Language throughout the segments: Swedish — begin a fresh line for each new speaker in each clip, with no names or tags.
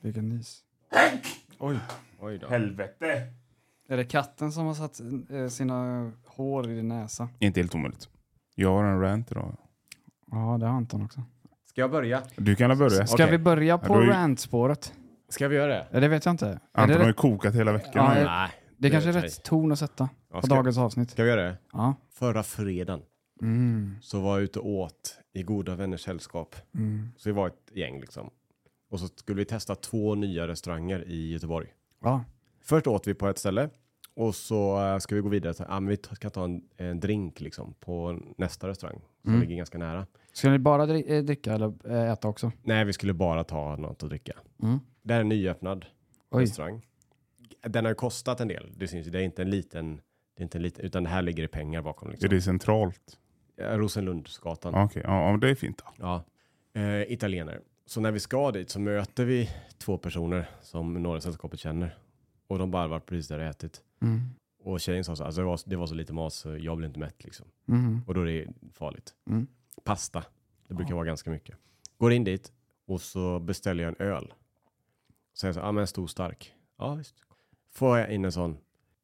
Vilken nys. Oj.
Oj då.
Helvete!
Är det katten som har satt eh, sina hår i din näsa?
Inte helt omöjligt. Jag har en rant idag.
Ja, det har Anton också.
Ska jag börja?
Du kan väl börja?
Ska
Okej.
vi börja på
Ja, då är-
rantspåret?
Ska vi göra det?
Ja, Det vet jag inte. Är
Anton
det,
har ju
rätt,
kokat hela veckan.
Ja,
nu.
jag-
Nej.
det kanske är
det-
rätt ton att sätta
Ja,
på
ska,
dagens avsnitt.
ska vi göra det?
Ja.
Förra fredagen
Mm,
så var jag ute och åt i goda vänners sällskap.
mm.
Så vi var ett gäng liksom. Och så skulle vi testa två nya restauranger i Göteborg.
Ja.
Först åt vi på ett ställe och så eh, ska vi gå vidare. Så, ah, men vi ta- ska ta en, en drink liksom på nästa restaurang som
Mm.
ligger ganska nära.
Ska ni bara dri- eh, dricka eller eh, äta också?
Nej, vi skulle bara ta något att dricka.
Mm.
Det här är en nyöppnad
Oj.
restaurang. Den har ju kostat en del. Det syns ju. Det är inte en liten, det är inte en liten utan det här ligger i pengar bakom.
Är
Liksom.
det centralt?
Eh, Rosenlundsgatan.
Ja, Okej, ja, ja, men det är fint. Då.
Ja. Eh, italienare. Så när vi ska dit så möter vi två personer som några i sällskapet känner. Och de bara var precis där och ätit.
Mm.
Och tjejen sa så här, alltså det, var, det var så lite mat så jag blev inte mätt liksom.
Mm.
Och då är det farligt.
Mm.
Pasta, det brukar
Ja.
vara ganska mycket. Går in dit och så beställer jag en öl. Säger så, ja ah, men en stor stark. Ja visst. Får jag in en sån.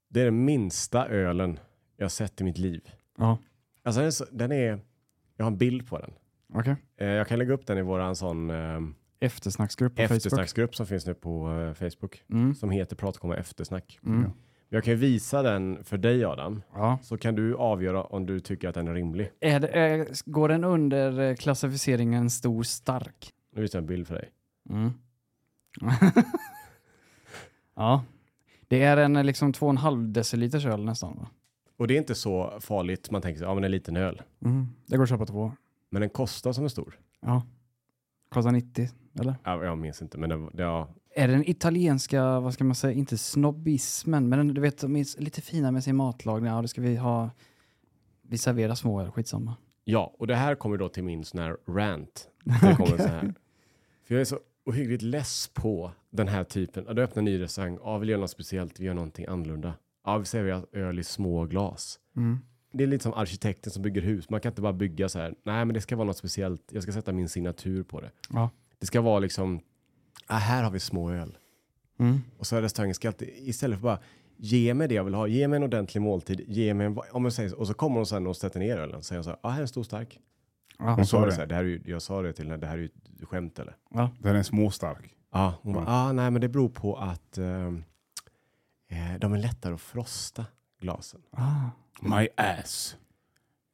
Det är den minsta ölen jag sett i mitt liv.
Ja.
Alltså den är, så, den är jag har en bild på den.
Okej.
Eh, jag kan lägga upp den i våran sån eh,
Eftersnacksgrupp på Facebook.
eftersnacksgrupp som finns nu på eh, Facebook.
Mm.
Som heter Pratkomma eftersnack.
Mm.
Jag kan ju visa den för dig Adam.
Ja.
Så kan du avgöra om du tycker att den är rimlig.
Är det, eh, går den under eh, klassificeringen stor stark?
Nu visar jag en bild för dig.
Mm. ja. Det är en eh, liksom 2,5 deciliters öl nästan va?
Och det är inte så farligt. Man tänker sig, ja men en liten öl.
Mm. Det går att köpa två.
Men den kostar som en stor.
Ja. Kostar 90, eller?
Ja, jag minns inte, men den, var- ja,
Är den italienska, vad ska man säga, inte snobbismen, men den, du vet, de är lite fina med sin matlagning. Ja, det ska vi ha. Vi serverar små öl, skitsamma.
ja, och det här kommer då till min sån här rant. Det kommer så här. För jag är så ohyggligt less på den här typen. Ja, Du öppnar en ny restaurang, ja vi gör något speciellt, vi gör någonting annorlunda. Ja, vi serverar öl i små glas.
Mm.
Det är lite som arkitekten som bygger hus. Man kan inte bara bygga så här. Nej, men det ska vara något speciellt. Jag ska sätta min signatur på det.
Ja.
Det ska vara liksom. Ah, här har vi små öl.
Mm.
Och så är restaurangen ska alltid istället för bara ge mig det jag vill ha. Ge mig en ordentlig måltid. Ge mig en, va- om jag säger så, och så kommer hon sen och sätter ner ölen. Säger hon så här. Ah, här är en stor stark.
Ja.
Hon
Och så
sa
var det. Så
det.
här, det här är ju, jag sa det till henne. Det här är ju ett skämt eller?
Den är småstark.
Ja, hon bara.
Mm.
Ah, nej, men det beror på att ehm, eh, de är lättare att frosta glasen.
Ah.
My ass.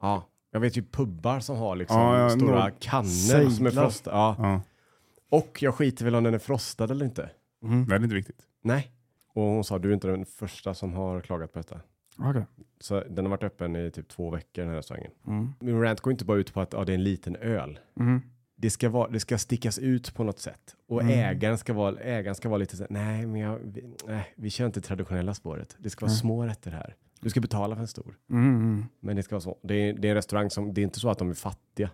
Ja, jag vet ju pubbar som har liksom
Ja, ja,
stora
några
kannor som är
seglar.
frostade. Ja.
Ja.
Och jag skiter väl om den är frostad eller inte.
Mm.
Det är inte viktigt.
Nej. Och hon sa, du är inte den första som har klagat på detta.
Ah, Okej.
Så den har varit öppen i typ två veckor, den här restaurangen.
Mm.
Min rant går inte bara ut på att ja, det är en liten öl.
Mm.
Det ska, vara, det ska stickas ut på något sätt. Och
Mm.
ägaren, ska vara, ägaren ska vara lite så här, nej, men jag, vi, nej, vi kör inte traditionella spåret. Det ska vara
Mm.
små rätter här. Du ska betala för en stor.
Mm. Mm.
Men det ska vara så. Det är, det är en restaurang som, det är inte så att de är fattiga.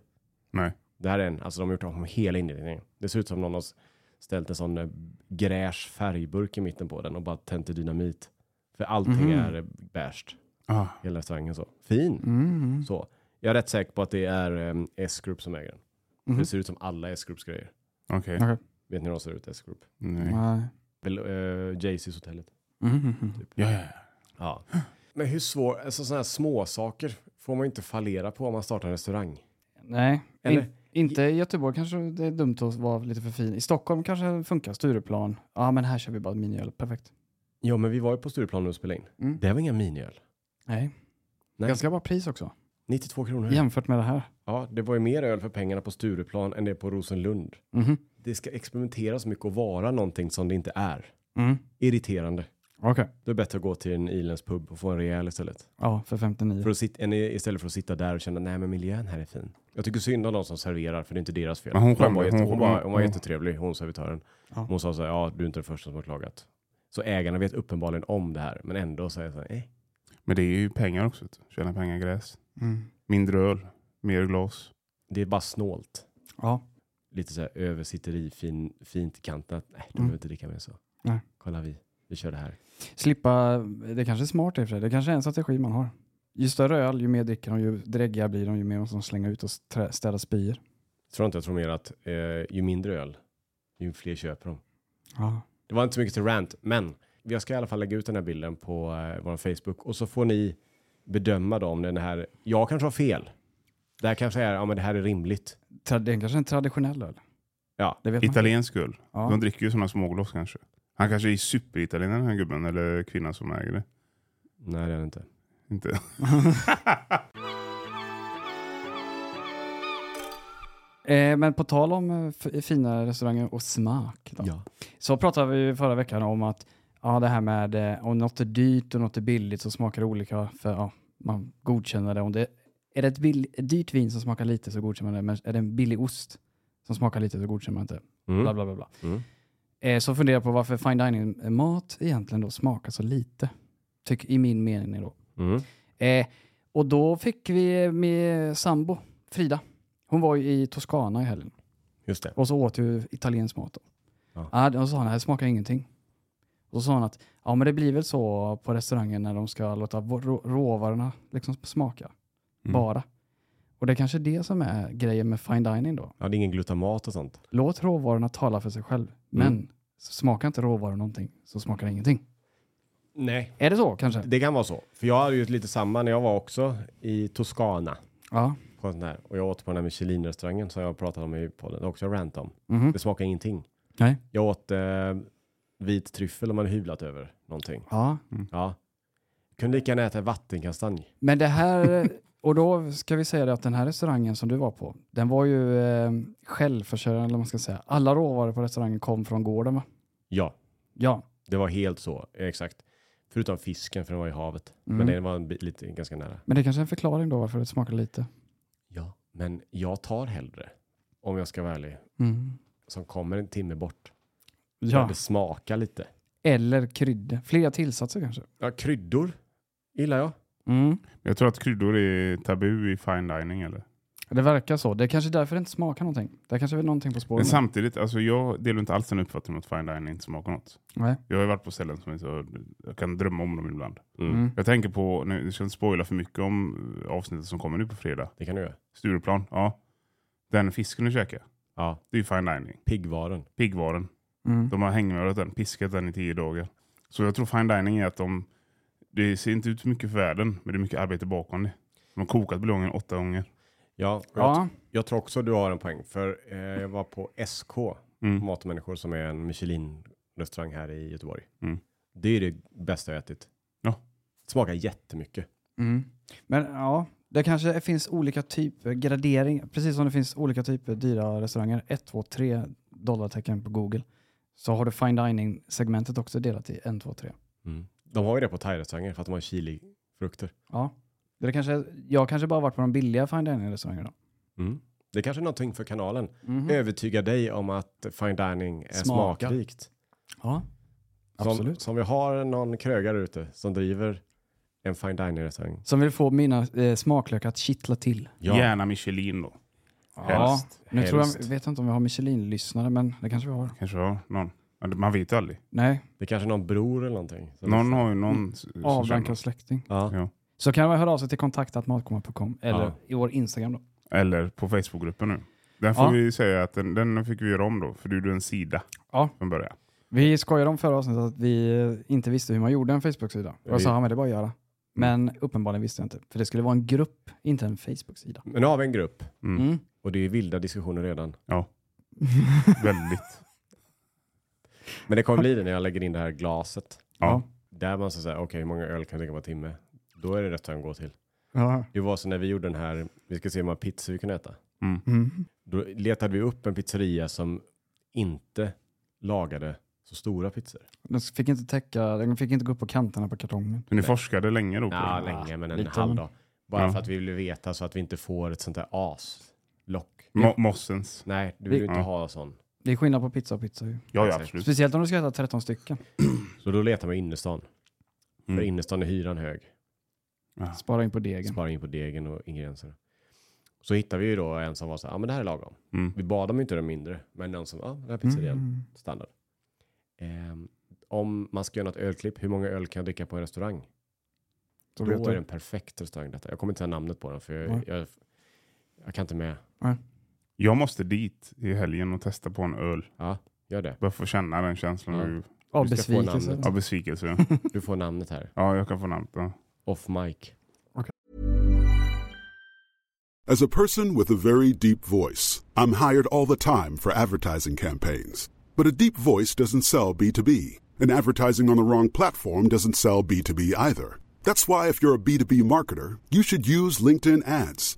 Nej.
Det här är en, alltså de har gjort om hela inredningen. Det ser ut som någon har s- ställt en sån eh, gräsch färgburk i mitten på den och bara tänt i dynamit. För allting
Mhm.
är eh, beige,
Ah.
hela restaurangen så. Fin!
Mm.
Så. Jag är rätt säker på att det är eh, S-Group som äger den.
Mhm.
Det ser ut som alla S-Groups grejer.
Okej.
Okej.
Vet ni hur de ser ut, S-Group?
Nej.
Mm. Nej.
Väl, eh, Jaycees hotellet.
Mm.
Ja, ja, ja.
Ja. Men hur svår, alltså sådana här små saker får man ju inte fallera på om man startar en restaurang.
Nej.
Eller?
In, inte i Göteborg kanske det är dumt att vara lite för fin. I Stockholm kanske funkar Stureplan. Ja, men här kör vi bara miniöl. Perfekt.
Ja, men vi var ju på Stureplan nu och spelade in.
Mm.
Det var inga miniöl.
Nej.
Nej. Mm.
Ganska bra pris också
92 kronor.
jämfört med det här.
Ja, det var ju mer öl för pengarna på Stureplan än det på Rosenlund.
Mhm.
Det ska experimenteras mycket och vara någonting som det inte är.
Mm.
Irriterande.
Okej.
Då är det bättre att gå till en Ilens pub och få en rejäl istället.
Ja, för 59.
Mm.
För att sitta, än istället för att sitta där och känna, nej men miljön här är fin. Jag tycker synd om de som serverar, för det är inte deras fel.
Men hon
hon,
skämde,
var jätte,
hon-
hon,
Mm.
var,
hon-
hon var
hon-
jättetrevlig, hon servitören.
Ja.
Hon sa så här, ja du är inte den första som har klagat. Så ägarna vet uppenbarligen om det här, men ändå säger så här, eh.
Men det är ju pengar också. vet du. Tjäna pengar gräs.
Mm.
Mindre öl. Mer glas.
det är bara snålt.
Ja.
Lite så här översitteri, fin, fint i kanten. att, Nej, de
Mm.
behöver inte dricka mer än så.
Nej.
Kolla vi, vi kör det här.
Slippa, det kanske är smart i och för sig. Det kanske är en strategi man har. Ju större öl, ju mer dricker de, ju dräggigare blir de, ju mer måste de slänga ut och trä- städa spyor.
Tror inte jag tror mer att eh, ju mindre öl, ju fler köper de.
Ja.
Det var inte så mycket till rant, men jag ska i alla fall lägga ut den här bilden på eh, vår Facebook och så får ni bedöma då om den här, jag kanske har fel. Det här kanske är, ja men det här är rimligt.
Tra- det är kanske en traditionell öl.
Ja,
det vet man.
Italiensk öl. De
Ja.
dricker ju sådana småglas kanske. Han kanske är superitalienare den här gubben eller kvinnan som äger det.
Nej det är det inte.
Inte.
Eh, men på tal om eh, f- fina restauranger och smak. Då.
Ja.
Så pratade vi ju förra veckan om att ja, det här med eh, om något är dyrt och något är billigt så smakar det olika. För ja, man godkänner det. Om det är det ett, bill- ett dyrt vin som smakar lite så godkänner man det. Men är det en billig ost som smakar lite så godkänner man inte. Bla,
Mm.
bla, bla, bla.
Mm.
Eh, så funderar jag på varför fine dining-mat egentligen då smakar så lite. Tyck, I min mening då.
Mm.
Eh, och då fick vi med sambo, Frida. Hon var ju i Toscana i helgen.
Just det.
Och så åt ju italiensk mat. Då.
Ja.
Ja. då sa han, det här smakar ingenting. Och så sa han att, ja men det blir väl så på restaurangen när de ska låta vå- rå- råvarorna liksom smaka.
Mm.
Bara. Och det är kanske det som är grejen med fine dining då.
Ja, det är ingen glutamat och sånt.
Låt råvarorna tala för sig
Mm.
själv. Men smakar inte råvaror någonting så smakar det ingenting.
Nej.
Är det så kanske?
Det kan vara så. För jag hade ju lite samma när jag var också i Toscana.
Ja.
På en sån här. Och jag åt på den här Michelin-restauranger som jag pratade om i podden. Det har också rant om.
Mhm.
Det smakar ingenting.
Nej.
Jag åt eh, vit tryffel om man hyvlat över någonting.
Ja.
Ja. Kunde lika gärna äta vattenkastanj.
Men det här, och då ska vi säga det att den här restaurangen som du var på, den var ju eh, självförsörjande, eller vad man ska säga. Alla råvaror på restaurangen kom från gården va?
Ja,
Ja.
det var helt så. Exakt. Förutom fisken, för den var i havet.
Mm.
Men den var en bit, lite, ganska nära.
Men det är kanske är en förklaring då varför det smakar lite.
Ja. Men jag tar hellre, om jag ska vara ärlig, som kommer en timme bort. Ja.
Mm. Ja.
Det smakar lite.
Eller kryddor. Flera tillsatser kanske.
Ja, kryddor gillar jag.
Mm.
Jag tror att kryddor är tabu i fine dining eller?
Det verkar så. Det är kanske därför det inte smakar någonting. Det är kanske är någonting på
Men
spåren.
samtidigt, alltså jag delar inte alls den uppfattningen att fine dining inte smakar något.
Nej.
Jag har ju varit på ställen som är så, jag kan drömma om dem ibland.
Mm.
Mm.
Jag tänker på, nu jag ska inte spoila för mycket om eh, avsnittet som kommer nu på fredag.
Det kan du göra.
Stureplan, ja. Den fisken du käkar,
Ja,
det är ju fine dining.
piggvaren.
Piggvaren.
Mm.
De har hängmörat den, piskat den i tio dagar. Så jag tror fine dining är att de, det ser inte ut så mycket för världen, men det är mycket arbete bakom det. De har kokat buljongen åtta gånger.
Ja, och jag,
Ja.
jag tror också du har en poäng. För eh, jag var på SK,
Mm.
Mat och människor, som är en Michelin-restaurang här i Göteborg.
Mm.
Det är det bästa jag ätit.
Ja.
Smakar jättemycket.
Mm. Men ja, det kanske finns olika typer, gradering, precis som det finns olika typer dyra restauranger. 1, 2, 3 dollartecken på Google. Så har du fine dining-segmentet också delat i 1, 2, 3. Mm.
De har ju det på thai-restauranger för att de har chili-frukter.
Ja. Det är kanske, jag kanske bara varit på de billiga fine dining-restaurangerna.
Det kanske är någonting för kanalen.
Mm. Mhm.
Övertyga dig om att fine dining är
Smakar.
smakrikt.
Ja,
Som,
absolut.
som vi har någon krögare ute som driver en fine dining-restaurang.
Som vill få mina eh, smaklökar att kittla till.
Gärna Michelin då.
Helst.
Nu tror
Helst.
jag, vet jag inte om vi har Michelin-lyssnare, men det kanske vi har.
Kanske har någon. Ja, det- Man vet ju aldrig.
Nej,
Det kanske är någon bror eller någonting. som-
Någon har ju någon.
Mm.
s- som
avdankad släkting.
Ja.
känner.
Så kan man höra av sig till kontaktatmatkomma.com eller
Ja.
i vår Instagram då.
Ja. Eller på Facebookgruppen nu. Den får
Ja.
vi säga att den, den fick vi göra om då, för du är en sida
Ja.
från början.
Vi skojade om förra avsnittet att vi eh, inte visste hur man gjorde en Facebook-sida. Och jag sa,
Vi-
ja men det är bara att göra. Men uppenbarligen visste jag inte, för det skulle vara en grupp, inte en Facebook-sida.
Men nu har vi en grupp
Mm.
Mm.
och det är vilda diskussioner redan.
Väldigt.
Men det kommer bli det när jag lägger in det här glaset.
Ja.
Där man ska säga, okej hur många öl kan jag dricka på en timme? Då är det rätt att gå till.
Ja.
Det var så när vi gjorde den här, vi ska se hur många pizzor vi kunde äta.
Mm.
Mm.
Då letade vi upp en pizzeria som inte lagade så stora pizzor.
Den fick inte täcka, den fick inte gå upp på kanterna på kartongen.
Så ni
Nej.
forskade länge då? På
Ja,
det?
länge, men en
lite
halv
om-
dag. Bara
Ja.
för att vi ville veta så att vi inte får ett sånt där aslock.
Mo- Mossens.
Nej, du vill ju
Vi-
inte
Ja.
ha sån.
Det är skillnad på pizza och pizza ju.
Ja, ja
Exakt.
absolut.
Speciellt om du ska äta 13 stycken.
Så då letar man i innerstan. För
Mm.
innerstan är hyran hög.
Ja.
Spara in på degen.
Spara in på degen och ingredienserna. Så hittar vi ju då en som var så här, ja men det här är lagom.
Mm.
Vi bad dem inte den mindre, men någon som, ja den här pizzerian,
Mm.
standard. Ehm, om man ska göra något ölklipp, hur många öl kan jag dricka på en restaurang?
Då
Då,
vet
är det
du.
en perfekt restaurang detta. Jag kommer inte säga namnet på den, för
Nej.
jag, jag, jag kan inte med.
Jag måste dit i helgen och testa på en öl.
Ja, Gör det.
Bara få känna den känslan
Ja.
av-
Av
Du ska få
besvikelse.
namnet.
Ja.
av besvikelse. ja.
Du får namnet här.
Ja, jag kan få namnet. Ja.
Off mic.
As a person with a very deep voice, I'm hired all the time for advertising campaigns. But a deep voice doesn't sell B2B, and advertising on the wrong platform doesn't sell B2B either. That's why, if you're a B2B marketer, you should use LinkedIn ads.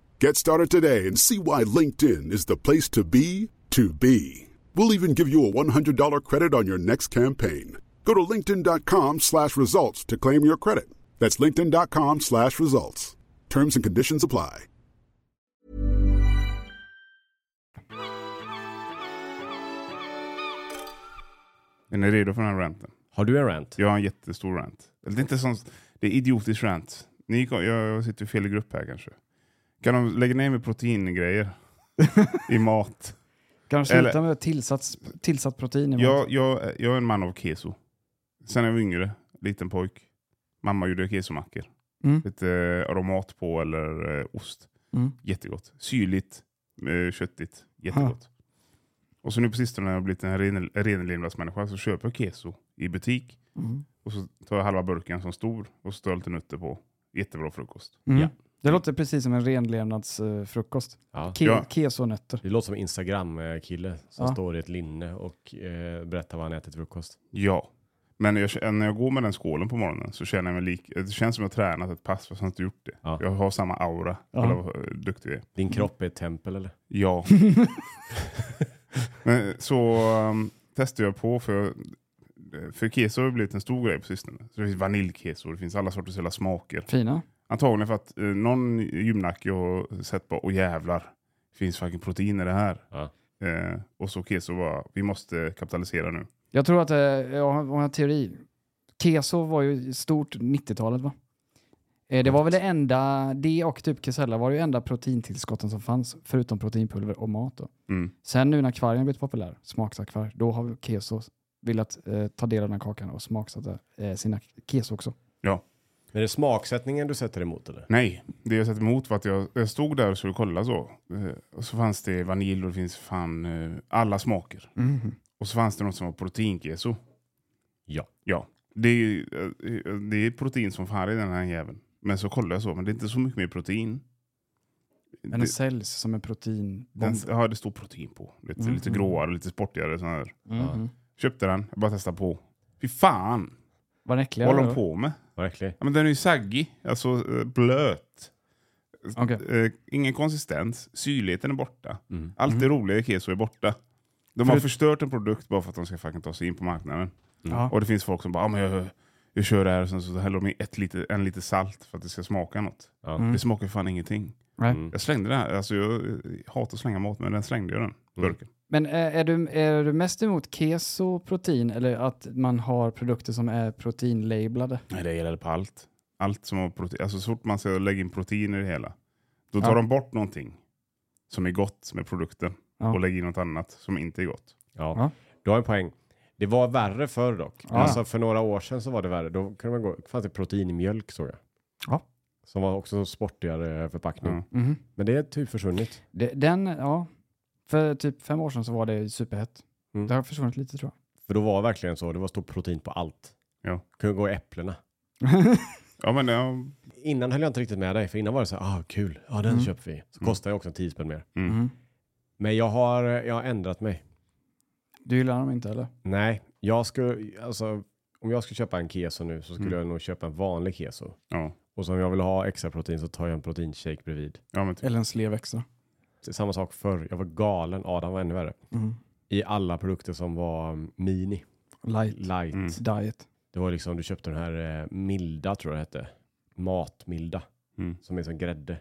Get started today and see why LinkedIn is the place to be to be. We'll even give you a $100 credit on your next campaign. Go to linkedin.com slash results to claim your credit. That's linkedin.com slash results. Terms and conditions apply.
Är ni redo för den här ranten?
Har du en rant?
Jag har en jättestor rant. Eller det är inte sånt, det är idiotisk rant. Ni, jag, jag sitter i fel grupp här kanske. Kan de lägga ner med proteingrejer i mat?
Kan de sluta
Eller-
med tillsats, tillsatt protein i maten?
Jag, jag, jag är en man av keso. Sen när jag var yngre, liten pojk. Mamma gjorde kesomackor.
Mm.
Lite eh, aromat på eller eh, ost.
Mm.
Jättegott. Syrligt, eh, köttigt. Jättegott. Och så nu på sistone när jag har blivit en ren- renlevnadsmänniska så köper jag keso i butik.
Mm.
Och så tar jag halva burken som stor och så tar jag lite nötter på. Jättebra frukost.
Mm.
Ja.
Det låter precis som en eh, renlevnadsfrukost.
Ja.
Ke-
Ja.
Kesonötter.
Det låter som en Instagram-kille som
Ja.
står i ett linne och eh, berättar vad han ätit till frukost.
Ja. Men jag, när jag går med den skålen på morgonen så känner jag mig lik... Det känns som jag har tränat ett pass fast jag har inte gjort det.
Ja.
Jag har samma aura.
Ja.
Kolla vad eh, duktig jag är.
Din
Mm.
kropp är ett tempel eller?
Ja. Men, så um, testade jag på för, eh, för keso har ju blivit en stor grej på sistone. Så det finns vaniljkeso, det finns alla sorters hela smaker.
Fina.
Antagligen för att eh, någon gymnack jag har sett på, och jävlar, det finns fucking protein i det här.
Ja.
Eh, och så keso var, vi måste kapitalisera nu.
Jag tror att, eh, jag har jag har en teori. Keso var ju stort 90-talet va? Eh, Det var väl det enda, det och typ kesella var ju enda proteintillskotten som fanns, förutom proteinpulver och mat då.
Mm.
Sen nu när kvargen blivit populär, smaksakvarg, då har keso velat eh, ta del av den här kakan och smaksätta eh, sina keso också.
Men är det smaksättningen du sätter emot eller?
Nej, det jag satt emot var att jag, jag stod där och skulle kolla så. Eh, och så fanns det vanilj och det finns fan eh, alla smaker. Och så fanns det något som var proteinkeso.
Ja.
Ja, det är, ju, eh, det är protein som fan i den här jäveln. Men så kollar jag så, men det är inte så mycket mer protein.
Men den
det,
säljs som en proteinbomb.
den, ja, det står protein på. Lite,
Mm,
lite
mm.
gråare, lite sportigare. Sån här.
Mhm.
Köpte den, jag bara testade på. Fy
Var
fan,
den
vad
äckligare
håller
då?
de på med?
Verkligen.
Ja, men den är ju saggig, alltså eh, blöt.
Okej.
Eh, ingen konsistens, syrligheten är borta.
Mm.
Allt det roliga i keso är borta. De har
Förut-
förstört en produkt bara för att de ska fucking ta sig in på marknaden.
Ja.
Och det finns folk som bara, ah, men jag, jag kör det här och sen så häller de i ett lite, en lite salt för att det ska smaka något.
Ja.
Mm.
Det smakar fan ingenting.
Right.
Mm.
Jag slängde den här, alltså jag eh, hatar att slänga mat men den slängde jag den, burken.
Men eh, är du, är du mest emot keso protein eller att man har produkter som är proteinlabelade?
Nej, det gäller på allt. Allt som har protein, alltså så fort man ska lägga in protein i det hela, då tar
Ja.
de bort någonting som är gott med produkten
Ja.
och lägger in något annat som inte är gott.
Ja.
Ja.
Du har en poäng. Det var värre förr dock.
Ja.
Alltså för några år sedan så var det värre. Då kunde man gå, fanns det proteinmjölk såg jag.
Ja.
Som var också en sportigare förpackning.
Ja.
Mhm.
Men det är typ försvunnit.
Det, den, ja. För typ fem år sedan så var det superhett.
Mm.
Det har försvunnit lite tror
För då var det verkligen så. Det var stort protein på allt.
Ja.
Kunde gå i äpplena.
jag.
Ja, men ja, Mm.
Innan höll jag inte riktigt med dig. För innan var det så här, ah kul, ja den
Mm.
köper vi. Så kostar det också en 10 spänn mer.
Mm.
Mm.
Men jag har, jag har ändrat mig.
Du gillar dem inte eller?
Nej, jag skulle, alltså om jag skulle köpa en keso nu så skulle
Mm.
jag nog köpa en vanlig keso.
ja,
Och så om jag vill ha extra protein så tar jag en proteinshake bredvid.
ja, men typ.
Eller en slev extra.
Det är Samma sak förr, jag var galen, Adam var ännu värre.
Mm.
I alla produkter som var mm, mini,
Light
light.
Mm.
diet.
Det var liksom, du köpte den här eh, milda tror jag det hette. Matmilda,
Mm.
som är som grädde.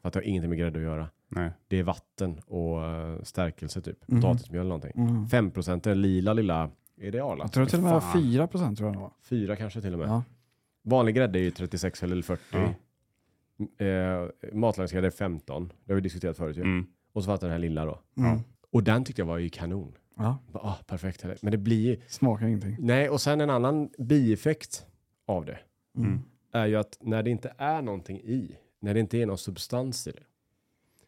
För att det har ingenting med grädde att göra.
Nej.
Det är vatten och eh, stärkelse typ.
Mhm.
Potatismjöl eller någonting.
Mm.
5 procent, den lila lilla, är det Arla?
Jag tror till och med det var
Fan.
4 procent tror jag det var.
Fyra kanske till och med.
Ja.
Vanlig grädde är ju 36 eller 40.
Ja.
Eh, matlagningsgrädde är 15. Det har vi diskuterat förut ju.
Mm.
Och så var det den här lilla då.
Mm.
Ja.
Och den tyckte jag var ju kanon.
Ja.
Bara, Ah, perfekt. Men det blir ju...
Smakar ingenting.
Nej, och sen en annan bieffekt av det
Mm.
Mm.
är ju att när det inte är någonting i, när det inte är någon substans i det,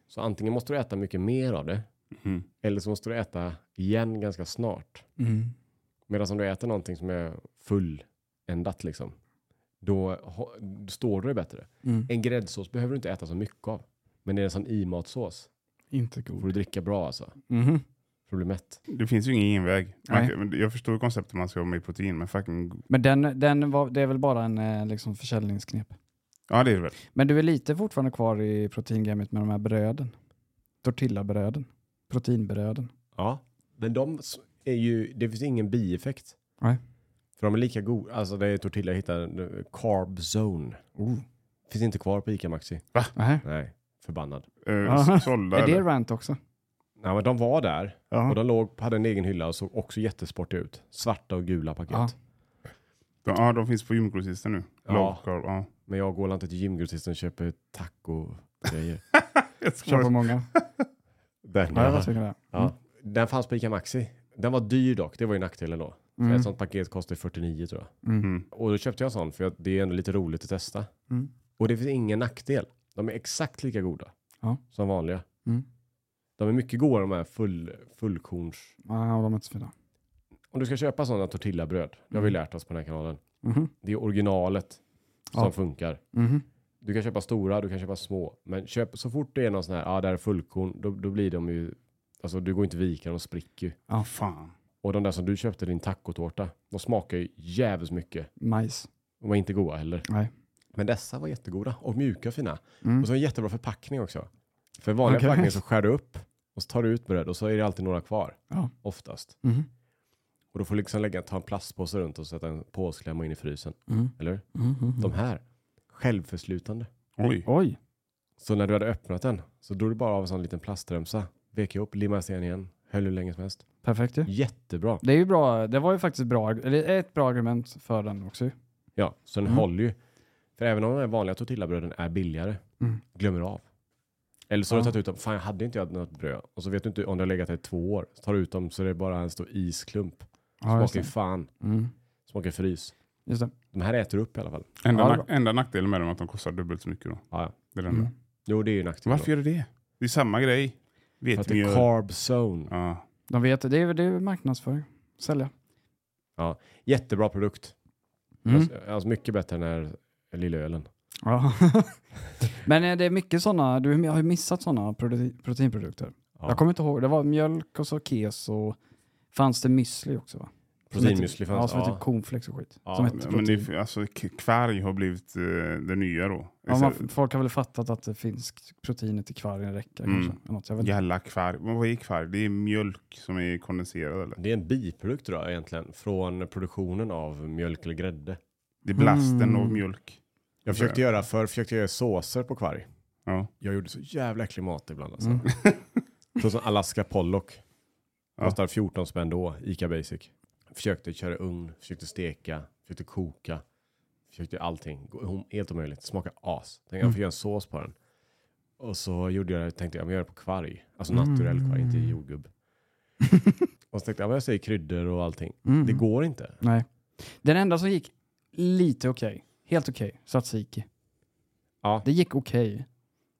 så antingen måste du äta mycket mer av det,
Mm.
eller så måste du äta igen ganska snart.
Mm.
Medan om du äter någonting som är fulländat liksom, då ho- står du dig bättre.
Mm.
En gräddsås behöver du inte äta så mycket av. Men är det en sån imatsås
Inte
får du
god.
dricka bra alltså.
Mhm.
För du blir mätt.
Det finns ju ingen genväg. Man,
Nej.
kan- men jag förstår konceptet man ska ha med protein, men fucking...
Men den, den var, det är väl bara en eh, liksom försäljningsknep.
Ja, det är det väl.
Men du är lite fortfarande kvar i proteingamet med de här bröden. Tortillabröden. Proteinbröden.
Ja. Men de s- är ju, det finns ingen bieffekt.
Nej.
För de är lika goda, alltså det är tortilla jag hittade, eh, carb zone.
Oh.
Finns inte kvar på ICA Maxi.
Nej.
Nej, förbannad.
Uh,
Aha.
sålda
Är det
eller?
rant också?
Nej men de var där och
Ja.
de låg, hade en egen hylla och såg också jättesportiga ut. Svarta och gula paket.
Ja.
De, ja, de finns på gymgrossisten nu.
Ja.
Ja. Carb, ja.
Men jag går inte till gymgrossisten och köper taco-grejer.
Jag ska
Köper
bara-
många.
Den,
Ja, jag var
ja.
säker på det.
Ja. Mm. Den fanns på ICA Maxi. Den var dyr dock, det var ju nackdelen då. För
Mm.
Ett sånt paket kostar 49 tror jag.
Mm.
Och då köpte jag en sån för att det är ändå lite roligt att testa.
Mm.
Och det finns ingen nackdel. De är exakt lika goda
Ja.
som vanliga.
Mm.
De är mycket godare de här full, fullkorns...
Ja, de är inte så fina.
Om du ska köpa sådana tortillabröd, det har vi
Mm.
lärt oss på den här kanalen.
Mhm.
Det är originalet som
Ja.
funkar.
Mhm.
Du kan köpa stora, du kan köpa små. Men köp, så fort det är någon sån här, ja ah, där är fullkorn, då, då blir de ju... Alltså du går inte vika, de spricker ju.
Ja, fan.
Och de där som du köpte din tacotårta, de smakar ju jävligt mycket.
Majs.
De var inte goda heller.
Nej.
Men dessa var jättegoda och mjuka och fina.
Mm.
Och så en jättebra förpackning också. För i vanliga
Okej.
förpackningar så skär du upp och så tar du ut bröd och så är det alltid några kvar.
Ja.
Oftast.
Mhm.
Och då får du liksom lägga, ta en plastpåse runt och sätta en påsklämma in i frysen.
Mm.
Eller?
Mhm. Mhm.
De här, självförslutande.
Oj.
Oj.
Så när du hade öppnat den så drog du bara av en sån liten plastremsa. Vek ihop, limmade sen igen. Höll hur länge som helst.
Perfekt ju.
Jättebra.
Det är ju bra. Det var ju faktiskt bra. Eller ett bra argument för den också ju.
Ja, så den
Mm.
håller ju. För även om de här vanliga tortillabröden är billigare,
Mm.
glömmer du av. Eller så har du
Ja.
tagit ut dem, fan jag hade inte jag något bröd. Och så vet du inte om det har legat där i två år. Så tar du ut dem så det är bara en stor isklump.
Ja, just
Smakar ju
det.
fan,
Mm.
smakar frys.
Just det.
De här äter du upp i alla fall.
Enda,
Ja, det
nack, enda nackdelen med dem är att de kostar dubbelt så mycket då.
Ja, ja.
Det är den
Mm.
där.
Jo, det är ju en nackdel.
Varför
då.
gör du det? Det är samma grej.
För att det är
Vetemjöl.
carb zone.
Ja.
De vet det. Det är, det är marknadsföring. Sälja.
Jättebra produkt.
Mm.
Alltså, alltså mycket bättre än den här lilla ölen.
Ja. Men eh, det är mycket sådana, du har ju missat sådana prote- proteinprodukter.
Ja.
Jag kommer inte ihåg, det var mjölk och så keso. och fanns det müsli också va? Som
Proteinmüsli
heter- Ja,
fanns.
som heter
Ja,
typ cornflakes och skit.
Ja,
som heter
Men det,
protein.
är- alltså, k- kvarg har blivit eh, det nya då. Alltså,
ja, man, folk har väl fattat att det finns proteinet i kvargen räcker
Mm.
kanske. eller Något, jag vet inte.
Jävla kvarg. Men vad är kvarg? Det är mjölk som är kondenserad eller?
det är en biprodukt tror jag egentligen. Från produktionen av mjölk eller grädde.
Det är blasten
Mm.
av mjölk.
Jag försökte göra för försökte jag göra såser på kvarg.
Ja.
Jag gjorde så jävla klimat ibland alltså.
Mm.
Så som Alaska Pollock.
Ja.
Kostar 14 spänn då, Ica Basic. Försökte köra i ugn, försökte steka, försökte koka. Försökte allting. Gå- hom- Helt omöjligt. Smakar as. Tänkte
Mm.
jag får göra en sås på den. Och så gjorde jag, tänkte jag, men jag gör det på kvarg. Alltså
Mm.
naturell kvarg, inte jordgubb. och så tänkte jag, men jag säger kryddor och allting.
Mm.
Det går inte.
Nej. Den enda som gick lite okej, helt okej, tzatziki.
Ja.
Det gick okej.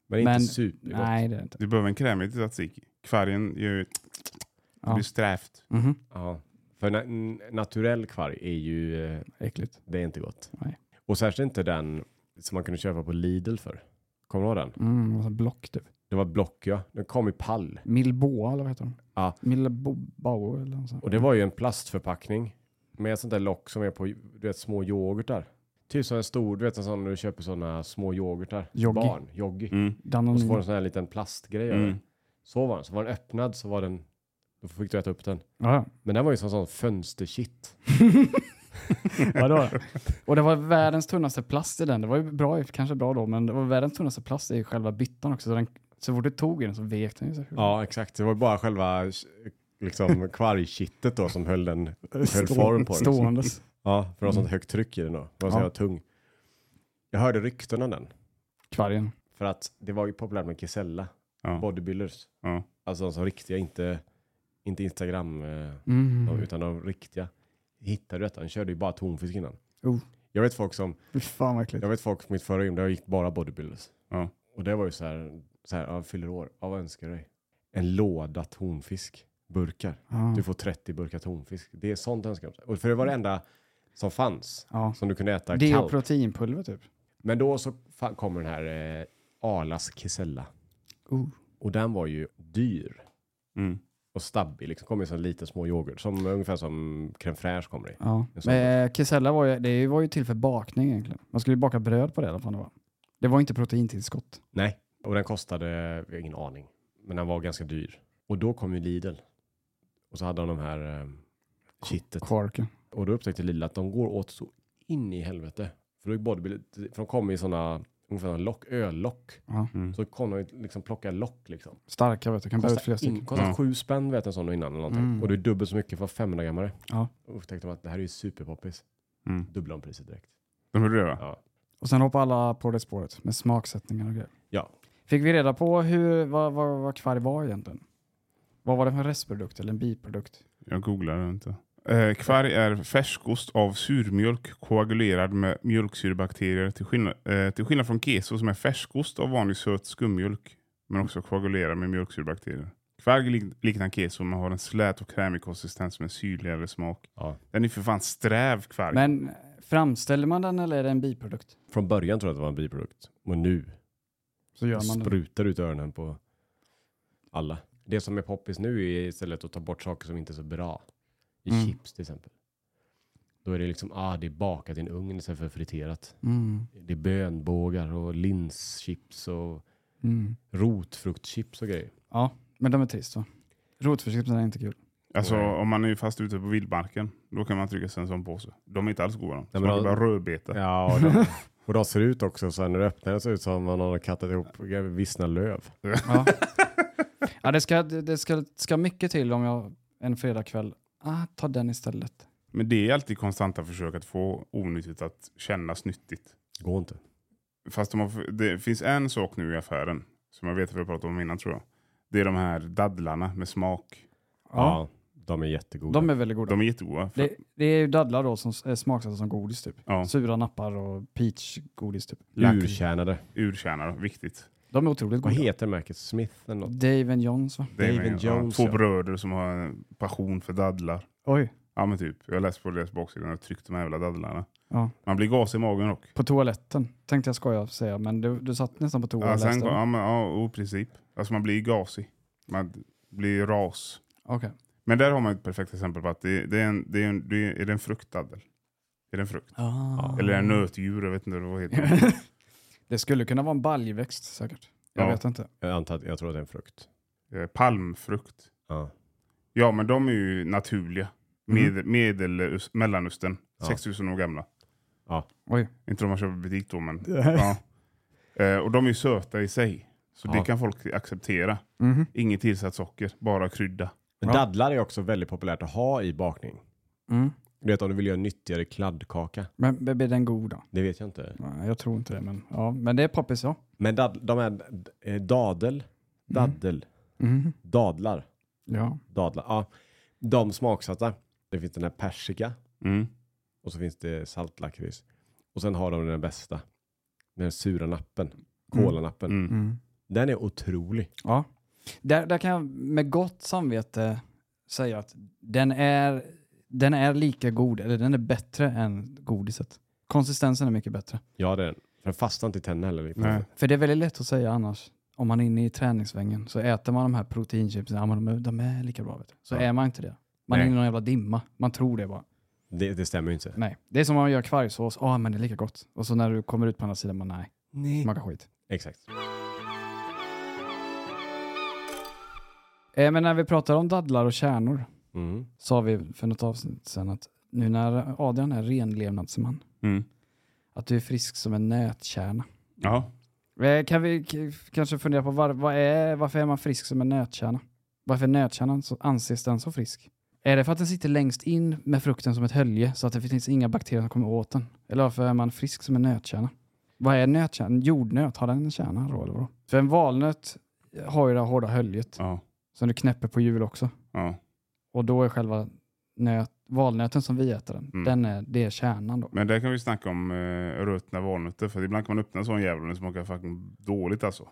Men inte
Men-
supergott.
Nej, det är det inte.
Du behöver en krämig till tzatziki. Kvargen gör ju... Det
Ja.
blir strävt.
Mhm.
Ja. För na- n- naturell kvarg är ju eh,
Äckligt.
Det är inte gott.
Nej.
Och särskilt inte den som man kunde köpa på Lidl för. Kommer du ihåg den?
Mm, alltså block typ.
Det var Block ja. Den kom i pall.
Milboa eller vad heter de?
Ja.
Milboa eller något sånt.
Och det var ju en plastförpackning. Med ett sånt där lock som är på du vet, små yoghurtar. Typ som en stor, du vet en sån när du köper såna små yoghurtar.
Joggi.
Barn, joggi.
Mm.
Och så
Danonino.
får du en sån här liten plastgrej över.
Mm.
Så var den. Så var den öppnad så var den, då fick du äta upp den.
Ja,
Men den var ju som sån fönsterkitt.
vadå? Och det var världens tunnaste plast i den. Det var ju bra, kanske bra då, men det var världens tunnaste plast i själva byttan också. Så den Så fort du tog i den så vek den ju sig.
Ja, exakt. Det var bara själva liksom, kvargkittet då som höll, den, höll
Stå-
form på den.
Ståendes.
Ja, för det var sånt högt tryck i den då. Det var så
Ja.
jävla tung. Jag hörde rykten om den.
Kvargen.
För att det var ju populärt med Kisella,
Ja.
bodybuilders.
Ja.
Alltså de som riktiga, inte, inte Instagram, eh,
Mm.
de, utan de riktiga. Hittade du detta? Han körde ju bara tonfisk innan.
Oh.
Jag vet folk som,
Fy fan vad äckligt.
jag vet folk på mitt förra gym, där gick bara bodybuilders.
Ja.
Och det var ju så här, så här ja, fyller år, ja, vad önskar du dig? En låda tonfisk, burkar.
Ja.
Du får 30 burkar tonfisk. Det är sånt önskar de. Och För det var det enda som fanns,
Ja.
som du kunde äta
Det är
kallt.
proteinpulver typ.
Men då så fa- kommer den här eh, Arlas Kisella.
Oh.
Och den var ju dyr
Mm.
och stabbig. Liksom kom i sån liten små yoghurt, som, ungefär som crème fraîche kommer i.
Ja.
En sån
Men eh, kesella var ju, det var ju till för bakning egentligen. Man skulle ju baka bröd på det i alla fall. Det var, det var inte proteintillskott.
Nej, och den kostade, jag har ingen aning, men den var ganska dyr. Och då kom ju Lidl. Och så hade de de här eh, kittet.
Quarken.
Och då upptäckte Lidl att de går åt så in i helvete. För, då är bodybuilding- för de kommer i sådana, ungefär såna lock, öllock.
Ja.
Mm.
Så kom de ju liksom plocka lock liksom.
Starka vet du, kan bära ut flera
Kostar,
stycken.
in, kostar
Ja.
sju spänn vet jag, en sån innan eller någonting.
Mm.
Och det är dubbelt så mycket för 500 grammare.
Ja.
Och upptäckte de att det här är ju superpoppis.
Mm.
Dubbla om priset direkt.
De gjorde det va?
Ja.
Och sen hoppar alla på det spåret med smaksättningar och grejer.
Ja.
Fick vi reda på hur, vad, vad, vad kvarg var egentligen? Vad var det för en restprodukt eller en biprodukt?
Jag googlar det inte. Eh, kvarg är färskost av surmjölk koagulerad med mjölksyrebakterier till skillnad, eh, till skillnad från keso som är färskost av vanlig söt skummjölk men också koagulerad med mjölksyrebakterier. Kvarg lik- liknar keso men har en slät och krämig konsistens med syrligare smak.
Ja.
Den är för fan sträv kvarg.
Men framställer man den eller är det en biprodukt?
Från början tror jag att det var en biprodukt. Och nu
Så gör man det.
sprutar ut öronen på alla. Det som är poppis nu är istället att ta bort saker som inte är så bra. I
Mm.
chips till exempel. Då är det liksom, ah det är bakat i en ugn istället för friterat.
Mm.
Det är bönbågar och linschips och
Mm.
rotfruktchips och grejer.
Ja, men de är trist va? Rotförsiktighet är inte kul.
Alltså
Nej.
om man är fast ute på vildmarken, då kan man trycka sig en sån påse. De är inte alls goda de.
men
Smakar
de-
bara rödbeta.
Ja, och de, och de ser ut också så här, när du öppnar den ser det ut som om någon har kattat ihop vissna löv.
Ja. ja, det, ska, det det ska, ska mycket till om jag en fredagkväll, ah, ta den istället.
Men det är alltid konstanta försök att få onyttigt att kännas nyttigt.
Går inte.
Fast de har, det finns en sak nu i affären som jag vet att vi har pratat om innan tror jag. Det är de här dadlarna med smak.
Ja,
de är jättegoda.
de är väldigt goda.
De är jättegoda. För,
det, det är ju dadlar då som s- är smaksatta som godis typ.
ja,
Sura nappar och peachgodis typ.
Urtjänade.
urkärnor, viktigt.
De är otroligt
Vad
goda.
heter märket? Smith eller något?
Dave and Johns va?
Det är
David
med-
Jones,
Ja,
ja.
två bröder som har en passion för dadlar.
Oj.
Ja men typ, jag läste på deras baksida och tryckte de här jävla dadlarna.
Ja.
Man blir gas i magen dock.
På toaletten tänkte jag skoja säga, men du, du satt nästan på toa
Ja,
och
sen,
läste.
ja, men, ja, och i princip. Alltså man blir gasig. Man blir ras.
Okej.
Men där har man ett perfekt exempel på att det, det, är, en, det, är, en, det är, är det en fruktdaddel? Är det en frukt?
Ah.
Eller en nötdjur, jag vet inte vad det heter.
det skulle kunna vara en baljväxt säkert. Jag
Ja.
vet inte.
Jag antar att jag tror att det är en frukt.
Eh, palmfrukt.
Ja.
Ja, men de är ju naturliga. Med, Medel, Mellanöstern,
Ja.
6000 år gamla.
Ja.
Oj.
Inte de man köper i butik då, men... ja. eh, och de är ju söta i sig. Så
Ja.
det kan folk acceptera.
Mhm.
Inget tillsatt socker, bara krydda.
Men
Ja.
dadlar är också väldigt populärt att ha i bakning.
Mm.
Du vet om du vill göra en nyttigare kladdkaka?
Men blir den god då?
Det vet jag inte.
Nej, jag tror inte det, men, ja. men det är poppis ja.
Men dad, de är eh, dadel, daddel,
Mhm.
dadlar,
Ja.
dadlar. Ja, de smaksatta. Det finns den här persika
Mm.
och så finns det saltlakrits. Och sen har de den bästa. Den sura nappen. Kolanappen.
Mm.
Mm.
Den är otrolig.
ja. Där, där kan jag med gott samvete säga att den är, den är lika god, eller den är bättre än godiset. Konsistensen är mycket bättre.
Ja, det är den. Den fastnar inte i tänderna heller. riktigt.
Nej.
För det är väldigt lätt att säga annars, om man är inne i träningsvängen, så äter man de här proteinchipsen, ja, men de, är- de är lika bra. Vet du. Så
Ja.
är man inte det. Man är
Nej.
inne i någon jävla dimma. Man tror det bara.
Det, det stämmer ju inte.
Nej. Det är som om man gör kvargsås, ja men det är lika gott. Och så när du kommer ut på andra sidan, man nej,
Nej.
smakar skit.
Exakt.
Eh, men när vi pratar om dadlar och kärnor,
Mm.
sa vi för något avsnitt sedan att nu när Adrian är renlevnadsman,
Mm.
att du är frisk som en nötkärna.
Ja.
Eh, Kan vi k- kanske fundera på var, vad är, varför är man frisk som en nötkärna? Varför är nötkärnan så, anses den så frisk? Är det för att den sitter längst in med frukten som ett hölje så att det finns inga bakterier som kommer åt den? Eller varför är man frisk som en nötkärna? Vad är nötkärnan? Jordnöt, har den en kärna då eller vadå? För en valnöt har ju det här hårda höljet
Ja,
som du knäpper på hjul också.
ja.
Och då är själva nöt, valnöten som vi äter den,
Mm.
den är, det är kärnan då.
Men där kan vi snacka om eh, ruttna valnötter. För ibland kan man öppna en sån jävel och den smakar fucking dåligt alltså.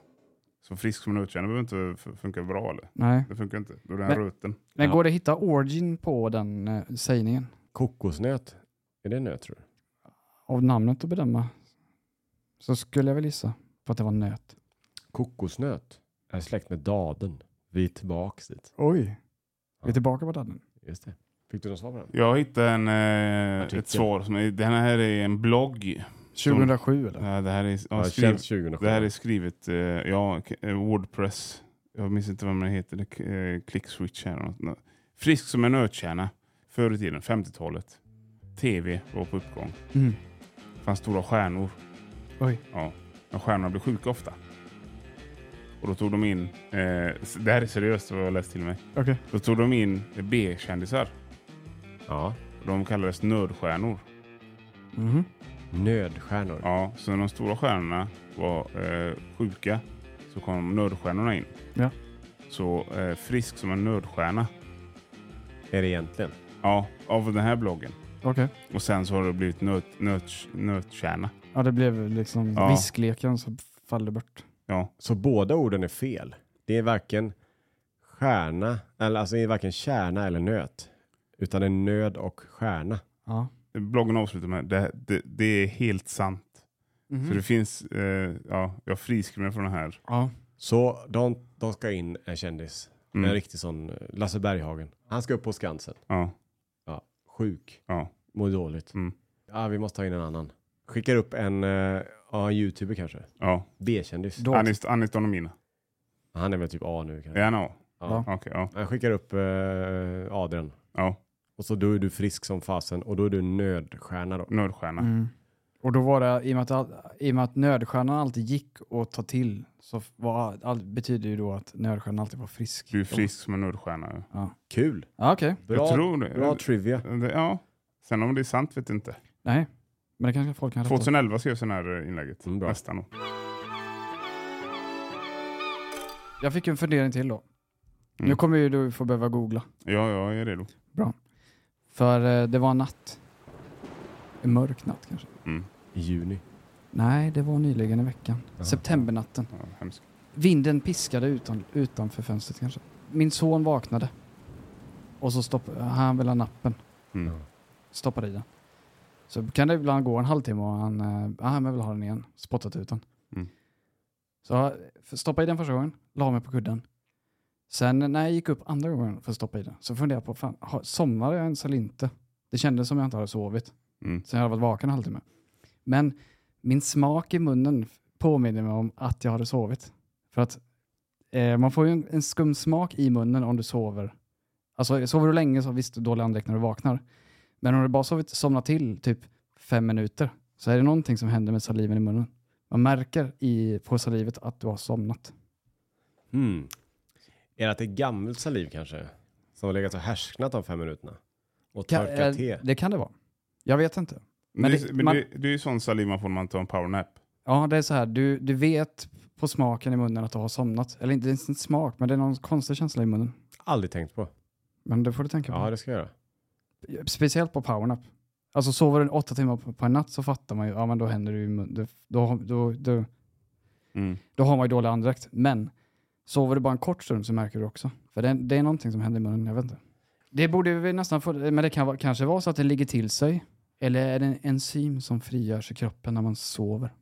Så frisk som en nötkärna behöver inte f- funka bra eller?
Nej.
Det funkar inte. Då är den
Men-
rutten.
Men
Ja.
går det att hitta origin på den eh, sägningen?
Kokosnöt, är det en nöt tror du?
Av namnet att bedöma så skulle jag väl gissa på att det var nöt.
Kokosnöt är släkt med daden. Vi är tillbaks dit.
Oj. Vi är
Ja.
tillbaka på daddeln.
Just det. Fick du något svar på den?
Jag hittade en, eh,
Artikel.
ett svar. Som är, den här är en blogg.
2007 eller?
Ja, det, här är, ja,
Ja,
skriv,
känns 2007.
det här är skrivet, eh, ja, k- eh, Wordpress. Jag minns inte vad man heter. Det, k- eh, Clickswitch här. eller något. Nå- Frisk som en nötkärna. Förr i tiden, 50-talet. TV var på uppgång.
Mm.
Det fanns stora stjärnor.
Oj.
Men stjärnorna blev sjuka ofta. Och då tog de in, eh, s- det här är seriöst vad jag har läst till mig.
Okej.
Då tog de in B-kändisar.
Ja.
Och De kallades nördstjärnor.
Mhm.
Nödstjärnor.
Ja, så när de stora stjärnorna var eh, sjuka så kom nördstjärnorna in.
Ja.
Så eh, frisk som en nördstjärna.
Är det egentligen?
Ja, av den här bloggen.
Okej.
Och sen så har det blivit nöt, nöt, nötkärna.
Ja, det blev liksom
Ja.
viskleken som faller bort.
Ja,
Så båda orden är fel. Det är varken stjärna, eller alltså det är varken kärna eller nöt. Utan en nöd och stjärna.
Ja.
bloggen avslutar med det, det, det är helt sant.
Mhm. Mm.
Så det finns, eh, ja, jag friskriver mig från den här.
ja.
Så de, de ska in en kändis.
Mm.
En riktig sån eh, Lasse Berghagen. Han ska upp på Skansen.
Ja,
Ja. Sjuk.
Ja.
Mår dåligt.
Mm.
Ja, vi måste ta in en annan. Skickar upp en, eh, ja, en youtuber kanske.
ja.
B-kändis.
Då.
Anis, Anis Donomina.
Han är väl typ A nu kanske.
Är han A?
Ja.
Okej, ja.
Han skickar upp eh, Adrian.
ja.
Och så då är du frisk som fasen och då är du nödstjärna då.
Nördstjärna.
Mm. Och då var det, i och med att, all- i och med att nödstjärnan alltid gick att ta till, så var, all, betyder ju då att nödstjärnan alltid var frisk.
Du är frisk som en nördstjärna.
Kul!
Ja, okej.
Bra,
jag tror det.
bra trivia.
Det- Ja. Sen om det är sant vet jag inte.
Nej. Men det kanske folk kan rätta
2011 skrev jag det här eh, inlägget.
Mm, bra.
Nästan då.
Jag fick en fundering till då.
Mm.
Nu kommer ju du få behöva googla.
Ja, jag är redo.
För eh, det var en natt. En mörk natt kanske.
Mm.
I juni.
Nej, det var nyligen i veckan.
Jaha.
Septembernatten.
Ja, hemskt.
Vinden piskade utan, utanför fönstret kanske. Min son vaknade. Och så stoppade han vill ha nappen.
Mm.
Stoppade i den. Så kan det ibland gå en halvtimme och han, eh, ah, han vill ha den igen. Spottat ut den.
Mm.
Så jag stoppade i den första gången, la mig på kudden. Sen eh, när jag gick upp andra gången för att stoppa i den så funderade jag på, fan, har- somnade jag ens eller inte? Det kändes som jag inte hade sovit.
Mm.
Sen jag hade varit vaken en halvtimme. Men min smak i munnen påminner mig om att jag hade sovit. För att eh, man får ju en, en skum smak i munnen om du sover. Alltså sover du länge så har visst dålig andedräkt när du vaknar. Men om du bara sovit, somnar till typ fem minuter så är det någonting som händer med saliven i munnen. Man märker i, på salivet att du har somnat.
Mm. Är det att det är gammalt saliv kanske? Som har legat och härsknat de fem minuterna? Och
Kan-
torkat
eh,
te?
det kan det vara. Jag vet inte.
Men,
Men
det,
det-
men
man-
det, det är ju sån saliv man får när man tar en powernap.
Ja, det är så här. Du, du vet på smaken i munnen att du har somnat. Eller inte, det är inte smak, men det är någon konstig känsla i munnen.
Aldrig tänkt på.
Men det får du tänka på.
Ja, det ska jag göra.
Speciellt på powernap. Alltså sover du åtta timmar på, på en natt så fattar man ju, ja men då händer det ju, i mun- då, då, då, då,
Mm.
då har man ju dålig andedräkt. Men sover du bara en kort stund så märker du också. För det, det är någonting som händer i munnen, jag vet inte. Det borde vi nästan få, men det kan vara, kanske vara så att det ligger till sig. Eller är det en enzym som frigörs i kroppen när man sover?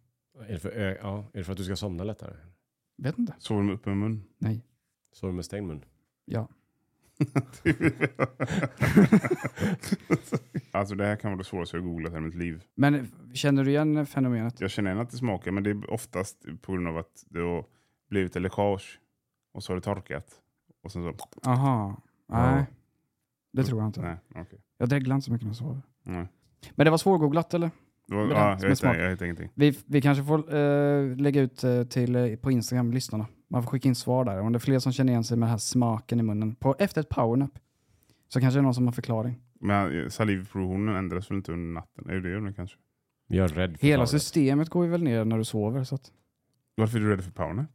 Är det för, ö- ja, är det för att du ska somna lättare?
Vet inte.
Sover med öppen mun.
Nej.
Sover du med stängd mun?
Ja.
alltså det här kan vara det svåraste jag googlat i mitt liv.
Men känner du igen fenomenet?
Jag känner igen att det smakar men det är oftast på grund av att det har blivit ett läckage. Och så har det torkat. Och sen så...
Aha.
Ja.
Nej. Det tror jag inte.
Nej, okej.
Jag dreglar inte så mycket när jag sover.
Nej.
Men det var svårgooglat eller?
Det var-
Men
Ja,
den
jag,
som är
hittar,
smart.
jag hittar ingenting.
Vi, vi kanske får eh, lägga ut eh, till, eh, på Instagram, lyssnarna. Man får skicka in svar där. Om det är fler som känner igen sig med den här smaken i munnen på, efter ett powernap så kanske det är någon som har förklaring.
Men eh, salivproduktionen ändras väl inte under natten? Är det gör den kanske?
Jag är rädd för
Hela
powernap.
systemet går ju väl ner när du sover. Så att,
Varför är du rädd för powernap?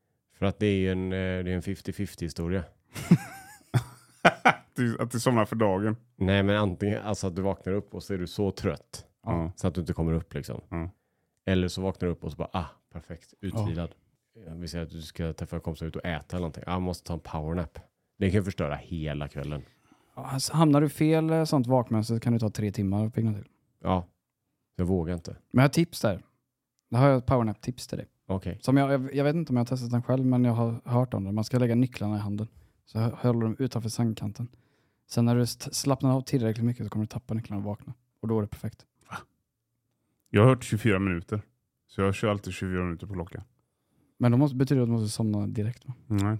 För att det är ju en, eh, det är en 50-50 historia.
Du- att du somnar för dagen?
Nej, men antingen alltså att du vaknar upp och så är du så trött
Ja.
Ja.
så att du inte kommer upp liksom.
Ja.
Eller så vaknar du upp och så bara, ah, perfekt, utvilad. Vi säger att du ska träffa kompisar ut och äta eller någonting. Ah, jag måste ta en powernap. Det kan ju förstöra hela kvällen.
ja, alltså, hamnar du fel eh, sånt vakmönster så kan det ta tre timmar att pigna till.
Ja, jag vågar inte.
Men jag har tips där. Där har jag ett powernap-tips till dig.
Okej.
Som jag, jag, jag vet inte om jag har testat den själv, men jag har hört om det. Man ska lägga nycklarna i handen. Så hö- håller du dem utanför sängkanten. Sen när du st- slappnar av tillräckligt mycket så kommer du tappa nycklarna och vakna. Och då är det perfekt.
Jag har hört 24 minuter. Så jag kör alltid 24 minuter på klockan.
Men då måste, betyder det att du måste somna direkt. Va?
Nej.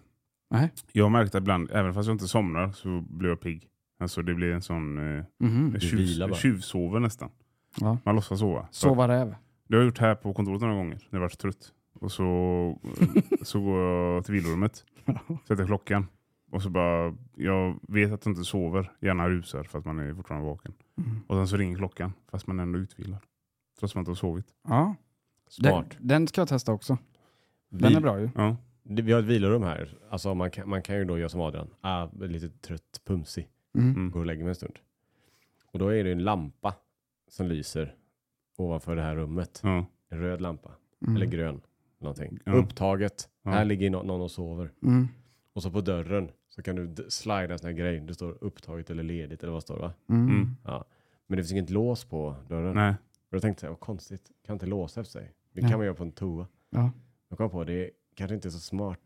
Nej.
Jag har märkt att ibland, även fast jag inte somnar så blir jag pigg. Alltså det blir en sån eh,
Mhm.
vilar
tjuv,
bara.
tjuvsover nästan.
Ja.
Man låtsas sova. Så
Sova räv.
Det har jag gjort här på kontoret några gånger när jag varit trött. Och så, så går jag till vilorummet, sätter klockan och så bara, jag vet att jag inte sover, gärna rusar för att man är fortfarande vaken.
Mm.
Och sen så ringer klockan fast man är ändå utvilad. Trots att man inte har sovit.
Ja. Den,
Smart.
den ska jag testa också. Den
Vi-
är bra ju.
Ja.
Det- Vi har ett vilorum här. Alltså man kan, man kan ju då göra som Adrian. Ah, lite trött, pumsig.
Mm.
Mm.
Går och lägger mig en stund. Och då är det en lampa som lyser ovanför det här rummet.
Ja.
En röd lampa. Eller
Mm.
grön. Någonting.
Ja.
Upptaget.
Ja.
Här ligger nå- någon och sover.
Mm.
Och så på dörren så kan du d- slida en sån här grej. Det står upptaget eller ledigt eller vad står det, va?
Mm.
Mm.
Men det finns inget lås på dörren.
Nej.
Och då tänkte jag, vad konstigt. Kan inte låsa efter sig. Det
Nej.
kan man göra på en toa.
Ja.
Jag kom på, det är kanske inte är så smart.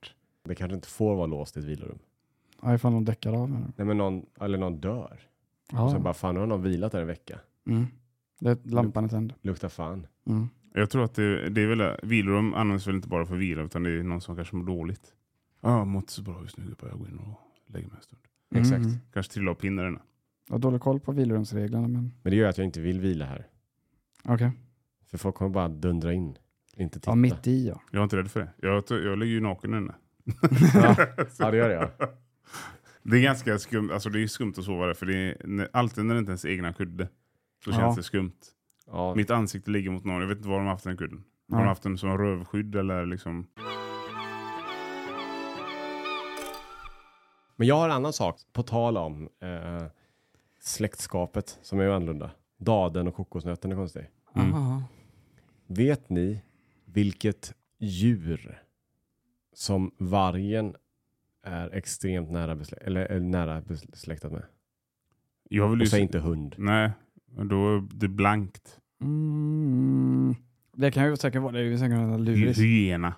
Det kanske inte får vara låst i ett vilorum.
Ja, ifall de däckar av. eller-
Nej men någon, eller någon dör. Och sen
Ja.
bara, fan nu har någon vilat där en vecka.
Mm. Det, lampan är tänd.
Luktar fan.
Mm.
Jag tror att det, det är väl, vilorum används väl inte bara för vila utan det är någon som kanske mår dåligt. Ja, jag mår inte så bra just nu gubbar, jag går in och lägger mig en stund.
Exakt.
Mm.
Kanske trillar av pinnarna.
Jag har dålig koll på vilorumsreglerna, men
Men det gör att jag inte vill vila här.
okej.
För folk kommer bara dundra in. Inte titta.
Ja, mitt i ja.
Jag är inte rädd för det. Jag, jag ligger ju naken inne.
ja. ja, det gör det ja.
Det är ganska skumt, alltså det är skumt att sova där för det är, när- alltid när det inte ens är egna kudde så
Ja.
känns det skumt.
ja.
Mitt ansikte ligger mot någon, jag vet inte var de har haft den kudden. Har de
Ja.
haft den som rövskydd eller liksom?
Men jag har en annan sak. På tal om eh, släktskapet som är annorlunda. Daden och kokosnöten är konstigt.
Mm.
Aha.
Vet ni vilket djur som vargen är extremt nära, beslä- eller, eller nära besläktat med?
Jag vill ju
Och säg
se-
inte hund.
Nej, då är det blankt.
Mm. Det kan ju säkert vara. Det är ju säkert något lurigt.
Mm. Hyena,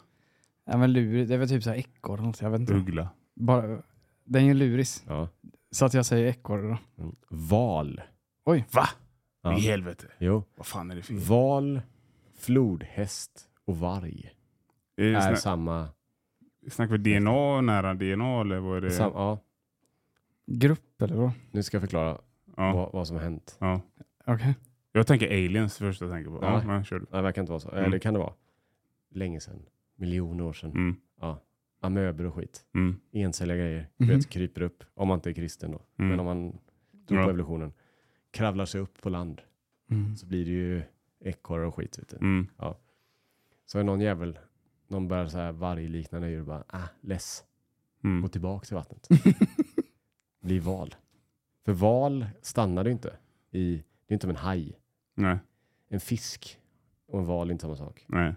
Ja, men luris. Det är väl typ så här ekorre eller något. Jag vet inte.
uggla.
Bara, den är ju luris.
Ja.
Så att jag säger ekorre då.
Mm. Val.
Oj.
Va?
Ja.
I helvete,
Jo.
vad fan är det för
Val, flodhäst och varg
är
är
det sna-
samma.
Snackar vi DNA, nära DNA eller vad är det?
sam, ja,
Grupp eller vad?
nu ska jag förklara
ja,
vad, vad som har hänt.
ja.
Okej.
Jag tänker aliens först jag tänker på. Ja,
Nej.
men kör du.
Nej, Det verkar inte vara så.
Mm.
Eller kan det vara? Länge sedan. Miljoner år sedan.
Mm,
Amöber och skit.
mm,
Encelliga grejer.
Mhm.
Du vet, kryper upp. Om man inte är kristen då. Men om
Mm-hmm. mm.
man tror på
Ja.
evolutionen. Kravlar sig upp på land.
Mm.
Så blir det ju ekorre och skit. Vet du.
Mm.
Så är någon jävel. Någon bär så här vargliknande djur. Bara, ah, less. Gå
Mm.
tillbaka till vattnet. blir val. För val stannar det inte i, det är inte som en haj.
Nej,
En fisk och en val är inte samma sak.
nej.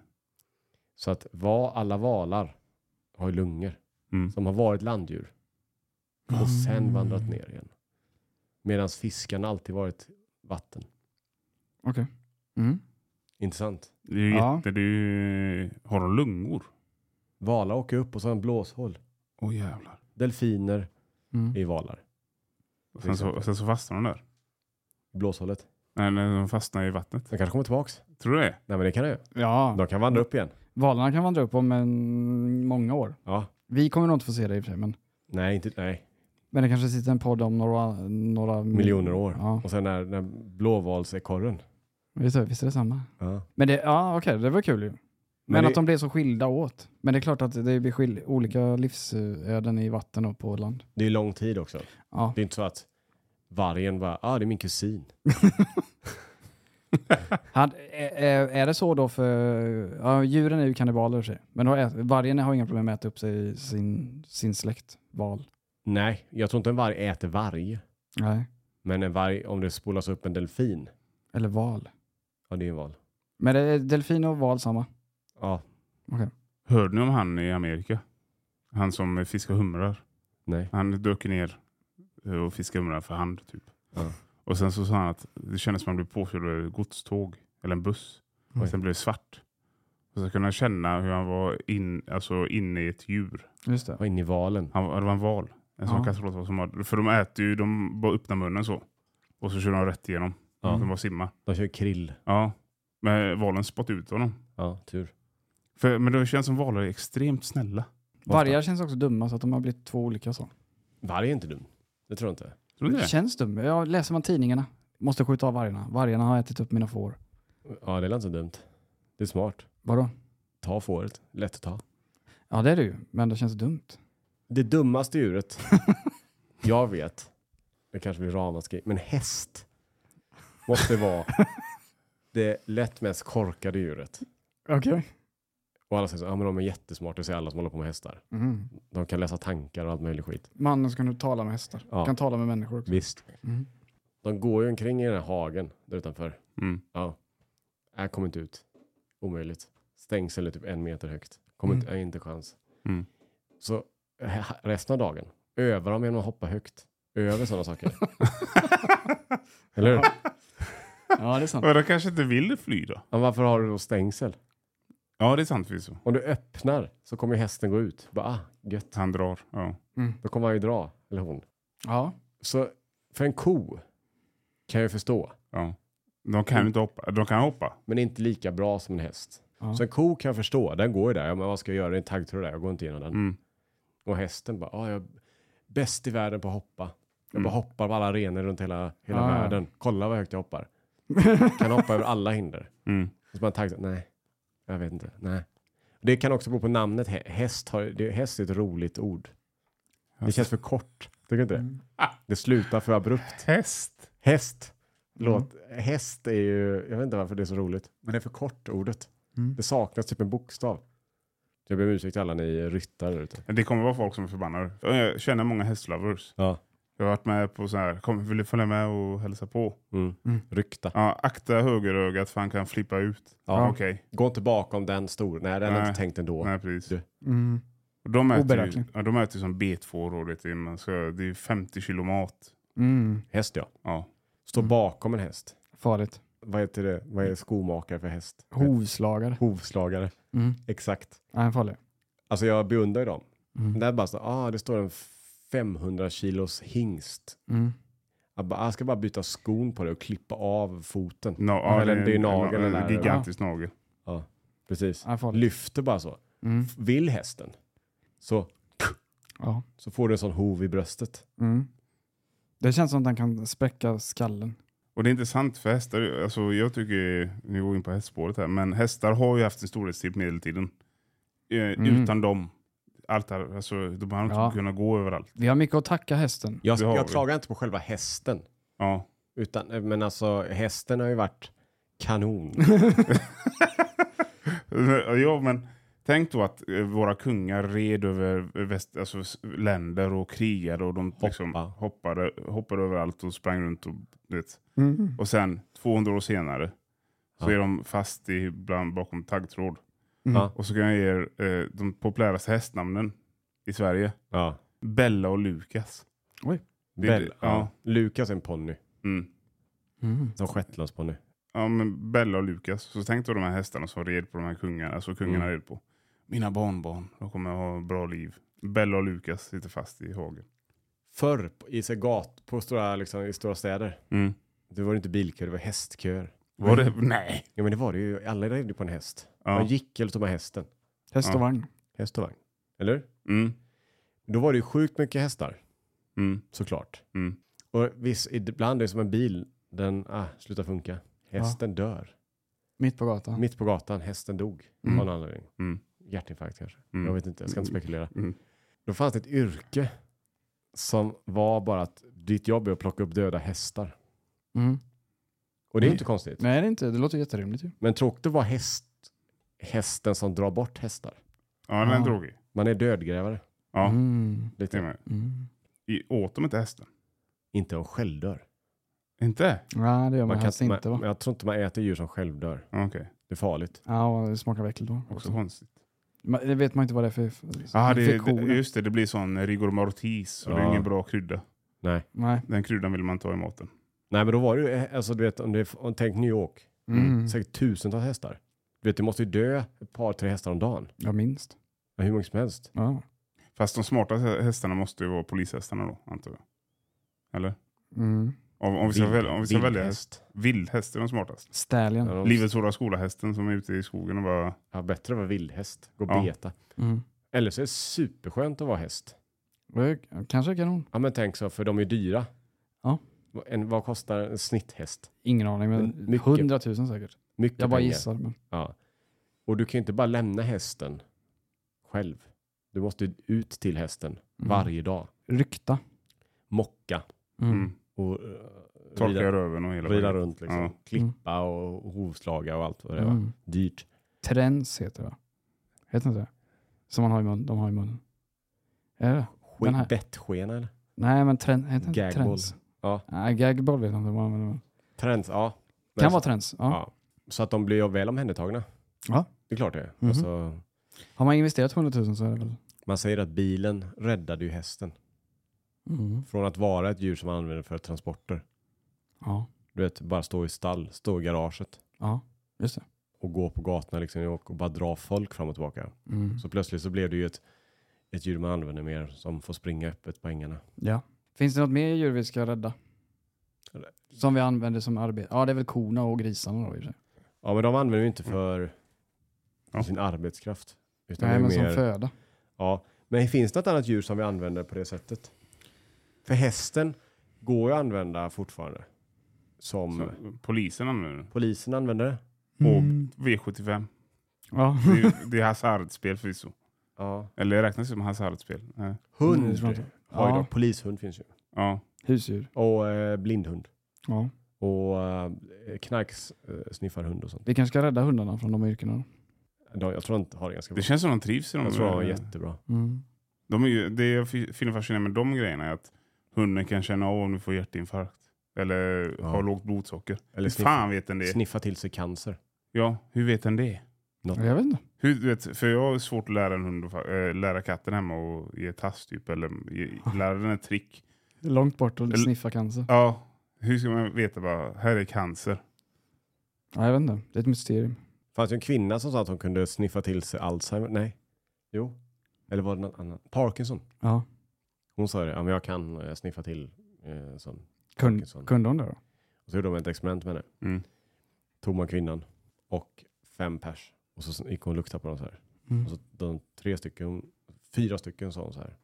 Så att va, alla valar har ju lungor
Mm.
som har varit landdjur och sen vandrat ner igen. Medan fiskarna alltid varit vatten.
Okej. Mm.
Intressant.
Det är ju
Ja.
jätte... Det är ju... Har de lungor?
Valar åker upp och så har de blåshål.
Åh jävlar.
Delfiner
Mm.
är valar.
Och sen, så, och sen så fastnar de där.
Blåshålet.
Nej, nej, de fastnar i vattnet.
De kanske kommer tillbaks.
Tror du det?
Nej men det kan de ju.
Ja,
De kan vandra upp igen.
valarna kan vandra upp om en, många år.
Ja.
Vi kommer nog inte få se det i och för sig, men,
Nej, inte, nej.
men det kanske sitter en podd om några... några
miljoner år.
Ja.
Och sen när, när blåvalsekorren
Visst är visst är det samma?
Ja.
Men det, ja okej, det var kul ju. Men,
Men
att
det-
de blev så skilda åt. Men det är klart att det blir skil- olika livsöden i vatten och på land.
Det är lång tid också.
Ja.
Det är inte så att vargen bara, ah det är min kusin.
Han, är, är- är det så då för... Ja, djuren är ju kannibaler i och för sig. Men då ä- vargen har inga problem med att äta upp sig sin, sin släkt. Val.
Nej, jag tror inte en varg äter varg.
Nej.
Men en varg, om det spolas upp en delfin,
Eller val.
ja det är en val.
Men det är delfin och val samma?
Ja,
Hörde ni om han i Amerika? Han som fiskar humrar.
nej.
Han dök ner eh, och fiskade humrar för hand typ.
Ja.
Och sen så sa han att det kändes som att han blev påkörd av ett godståg eller en buss.
Oj.
Och sen blev det svart. Och så kunde han känna hur han var in, alltså inne i ett djur.
Just det.
Var inne i valen.
Han, var- det var en val. En sån
Ja.
kastrolval som hade, För de äter ju, de bara öppnar munnen så. Och så kör de rätt igenom.
Ja.
De bara simmar.
Mm. De kör krill.
Ja. Men valen spottade ut honom.
Ja, tur.
För, men det känns som valar är extremt snälla.
Vargar känns också dumma så att de har blivit två olika så.
Varg är inte dum. Det tror jag inte.
Tror du det?
Känns dum. Ja, läser man tidningarna. Måste skjuta av vargarna. Vargarna har ätit upp mina får.
Ja, det är inte så dumt. Det är smart.
Vadå?
Ta fåret. Lätt att ta.
Ja det är det ju, men det känns dumt.
Det dummaste djuret jag vet, det kanske blir ramaskri, men häst måste vara det lätt mest korkade djuret.
Okej.
Och alla säger så, ja men de är jättesmarta, det säger alla som håller på med hästar.
Mm.
De kan läsa tankar och allt möjligt skit.
Mannen som kunde tala med hästar.
Ja.
Kan tala med människor också.
Visst.
Mm.
De går ju omkring i den här hagen där utanför.
Mm.
Ja. Jag kommer inte ut. Omöjligt. Stängsel är typ en meter högt. Kommer
Mm.
inte, äh, inte chans.
Mm.
Så eh, resten av dagen övar de genom att hoppa högt. Över sådana saker. Eller hur?
Ja, det är sant.
Och de kanske inte vill fly då?
Men varför har du då stängsel?
Ja, det är sant förvisso.
Om du öppnar så kommer ju hästen gå ut. Bara, ah, gött.
Han drar. Ja.
Då kommer han ju dra, eller hon.
Ja.
Så för en ko kan jag förstå,
ja. De
Mm.
kan ju inte hoppa. De kan hoppa.
men inte lika bra som en häst.
Ja.
Så en ko kan jag förstå, den går ju där. Ja, men vad ska jag göra? Det är en taggtråd där, jag går inte igenom den.
Mm.
Och hästen bara, ah, jag är bäst i världen på att hoppa. Jag bara
Mm.
hoppar på alla arenor runt hela, hela
Ah.
världen. Kolla vad högt jag hoppar. kan hoppa över alla hinder.
Mm.
Och så bara en taggtråd, nej, jag vet inte, nej. Det kan också bero på namnet. Hä- Häst, har, det, häst är ett roligt ord. Det känns för kort. Tycker du inte det?
Mm.
Det slutar för abrupt.
Häst.
Häst.
Mm.
Låt, Häst är ju, jag vet inte varför det är så roligt, men det är för kort ordet.
Mm.
Det saknas typ en bokstav. Jag ber om ursäkt till alla ni ryttare där ute.
Det kommer vara folk som är förbannade. Jag känner många hästlovers.
Ja.
Jag har varit med på så här, kom, vill du följa med och hälsa på?
Mm.
Mm.
Rykta.
Ja, akta högerögat för han kan flippa ut.
Ja.
Okej,
Gå inte bakom den stora. Nej, den har jag
Nej.
inte tänkt ändå.
nej precis.
Du.
Mm.
Och De äter, ju,
Oberäknelig.
ja, de äter ju som betfår och det är, man ska, det är 50 kilo mat.
Mm.
Häst ja.
Ja.
Stå
Mm.
bakom en häst.
Farligt.
Vad heter det? Vad är skomakare för häst?
Hovslagare.
Hovslagare.
Mm.
Exakt.
Nej, han är farlig.
Alltså jag beundrar ju dem.
Mm.
Där bara så, ah, det står en 500 kilos hingst
Mm.
Jag, bara, "Ah, jag ska bara byta skon på det och klippa av foten.
Mm.
No, ja,
Eller det är
en-
nagel
en-
där.
En gigantisk nagel.
Precis.
Han är farlig.
Lyfter bara så.
Mm.
F- Vill hästen så,
Ja.
så får du en sån hov i bröstet.
Mm. Det känns som att han kan spräcka skallen.
Och det är intressant för hästar, alltså jag tycker, nu går vi in på hästspåret här, men hästar har ju haft en storhetstid på medeltiden. Eh,
Mm.
Utan dem, allt här, alltså, de har inte
Ja.
kunnat gå överallt.
Vi har mycket att tacka hästen.
Jag,
Det har
jag
vi.
klagar inte på själva hästen.
Ja.
Utan, eh, men alltså hästen har ju varit kanon.
ja, men tänk då att eh, våra kungar red över väst, alltså, s- länder och krigade och de liksom
Hoppa.
hoppade, hoppade överallt och sprang runt. Och, du vet.
Mm.
och sen 200 år senare
Ja.
så är de fast i, bland, bakom taggtråd.
Ja.
Och så kan jag ge er eh, de populäraste hästnamnen i Sverige.
ja.
Bella och Lukas. Det-
Bell, ja.
ja.
Lukas är en ponny.
Mm.
Mm.
Som shetlandsponny.
Ja, men Bella och Lukas. Så tänk då de här hästarna som red på de här kungarna, alltså kungarna
Mm.
red på. Mina barnbarn, de kommer ha bra liv. Bella och Lukas sitter fast i hagen.
Förr på- i sig gat, på stora, liksom, i stora städer,
Mm.
det var det inte bilköer, det var hästköer.
Var det? Nej.
Ja men det var det ju, alla red ju på en häst. Man
Ja.
gick eller tog med hästen.
Häst och
Ja.
vagn.
Häst och vagn. Eller?
Mm.
Då var det ju sjukt mycket hästar.
Mm.
såklart.
Mm.
Och visst, ibland är det som en bil, den ah, slutar funka Hästen dör.
Mitt på gatan.
Mitt på gatan, hästen dog.
Mm.
Av någon anledning.
Mm.
Hjärtinfarkt kanske.
Mm.
Jag vet inte, jag ska inte spekulera.
Mm.
Då fanns det ett yrke som var bara att ditt jobb är att plocka upp döda hästar.
Mm.
Och det är
Mm.
Nej.
inte konstigt.
Nej, det är inte. Det låter jätterimligt ju.
Men tråkigt att vara häst, hästen som drar bort hästar.
Ja, den är
Ja.
drogig.
Man är dödgrävare.
Ja,
Mm.
det är
Lite.
med.
Mm.
I, åt de inte hästen?
Inte om självdör.
Inte?
Nej, det gör man,
Man kan,
helst inte
man,
va?
jag tror inte man äter djur som självdör.
Ja, Okej,
Det är farligt.
Ja, och det smakar väl äckligt då.
också konstigt.
Man, det vet man inte vad det är för
Ja, det,
infektioner.
det, just det, det blir sån rigor mortis och det är
Ja.
ingen bra krydda.
Nej.
Nej.
Den kryddan vill man inte ha i maten.
Nej, men då var det ju, eh, alltså du vet, om det, är- om, tänk New York.
Mm.
Säkert tusentals hästar. Du vet, det måste ju dö ett par, tre hästar om dagen.
Ja, minst.
Ja, Hur många som helst.
Ja.
Fast de smarta hä- hästarna måste ju vara polishästarna då, antar jag. Eller?
Mm.
Om, om vi ska,
Vild-
välja, om vi ska välja häst.
vildhäst.
Vildhäst är de smartaste.
Stallion.
Ja, de-
Livets hårda skola-hästen som är ute i skogen och bara...
Ja, bättre att vara vildhäst. Gå och
Ja.
beta.
Mm.
Eller så är det superskönt att vara häst.
Det är- Kanske kanon.
Ja men tänk så, för de är dyra.
Ja.
En, vad kostar en snitthäst?
Ingen aning, men
Mycket.
100 000 säkert.
Mycket
Jag bara
pengar.
gissar. Men...
Ja. Och du kan ju inte bara lämna hästen själv. Du måste ut till hästen
Mm.
varje dag.
Rykta.
Mocka
Mm.
Mm.
och eh,
Torka
vrida,
röven och hela
vrida
vägen.
runt liksom.
Ja.
Klippa och hovslaga och allt vad det var.
Mm.
Dyrt.
Trends heter det va? Heter inte det? Som man har i munnen. De har i munnen. Är det Den
Ske-
här.
Bettskena eller?
Nej, men trend, heter inte
Gagboll.
trends?
Ja.
Nej, gagboll vet jag inte vad man använder. men-
Trends, ja. Men
Kan
så-
vara trends. Ja.
ja. Så att de blir väl omhändertagna.
Ja.
Det är klart det är.
Mhm.
Alltså,
Har man investerat 100 000 så är det väl...
man säger att bilen räddade ju hästen.
Mm.
Från att vara ett djur som man använder för transporter.
Ja.
Du vet, bara stå i stall, stå i garaget
ja, just det.
och gå på gatorna liksom i New York och bara dra folk fram och tillbaka.
Mm.
Så plötsligt så blev det ju ett, ett djur man använder mer som får springa öppet på ängarna.
Ja. Finns det något mer djur vi ska rädda?
Eller-
Som vi använder som arbete? Ja, det är väl korna och grisarna då i och för sig.
Ja, men de använder ju inte
Mm.
för
Ja.
sin arbetskraft. Utan
Nej,
det är
men
mer,
som föda.
ja. men finns det något annat djur som vi använder på det sättet? För hästen går ju att använda fortfarande. Som
Så Polisen använder den.
polisen använder det.
Mm. V75.
Ja.
Det är, ju- det är hasardspel förvisso.
Ja.
Eller räknas det som hasardspel? Nej.
Mm, det
Hund
tror
har
jag
ju
inte.
de.
Ja,
Polishund finns ju.
Ja.
husdjur.
Och eh, blindhund.
Ja.
Och eh, knarks, eh, sniffarhund och sånt.
Vi kanske ska rädda hundarna från de yrkena.
De, jag tror de har det ganska bra.
Det känns som de trivs i de...
Jag tror de har jättebra.
Mm.
de är ju, det jag fi- finner fascinerande med de grejerna är att hunden kan känna av om du får hjärtinfarkt. Eller
Ja.
har lågt blodsocker.
Eller
hur
sniffa,
fan vet den det?
sniffa till sig cancer.
Ja, hur vet den det?
Något.
Jag vet inte.
Hur, du vet, för jag har svårt att lära en hund att fa- eh, lära katten hemma och ge tass typ. Eller ge, lära den ett trick.
Långt bort och
Eller-
sniffa cancer.
Ja, hur ska man veta bara, här är cancer.
Ja, jag vet inte. Det är ett mysterium.
Fanns ju en kvinna som sa att hon kunde sniffa till sig Alzheimer. Nej. Jo. Eller var det någon annan? Parkinson.
Ja.
Hon sa det. Ja, men jag kan eh, sniffa till eh, sån
Kun,
Parkinson.
kunde hon det då?
Och så gjorde de ett experiment med henne.
Mm.
Tog man kvinnan och fem pers. Och så gick hon och luktade på dem så här.
Mm.
Och så de tre stycken, fyra stycken sa hon så här.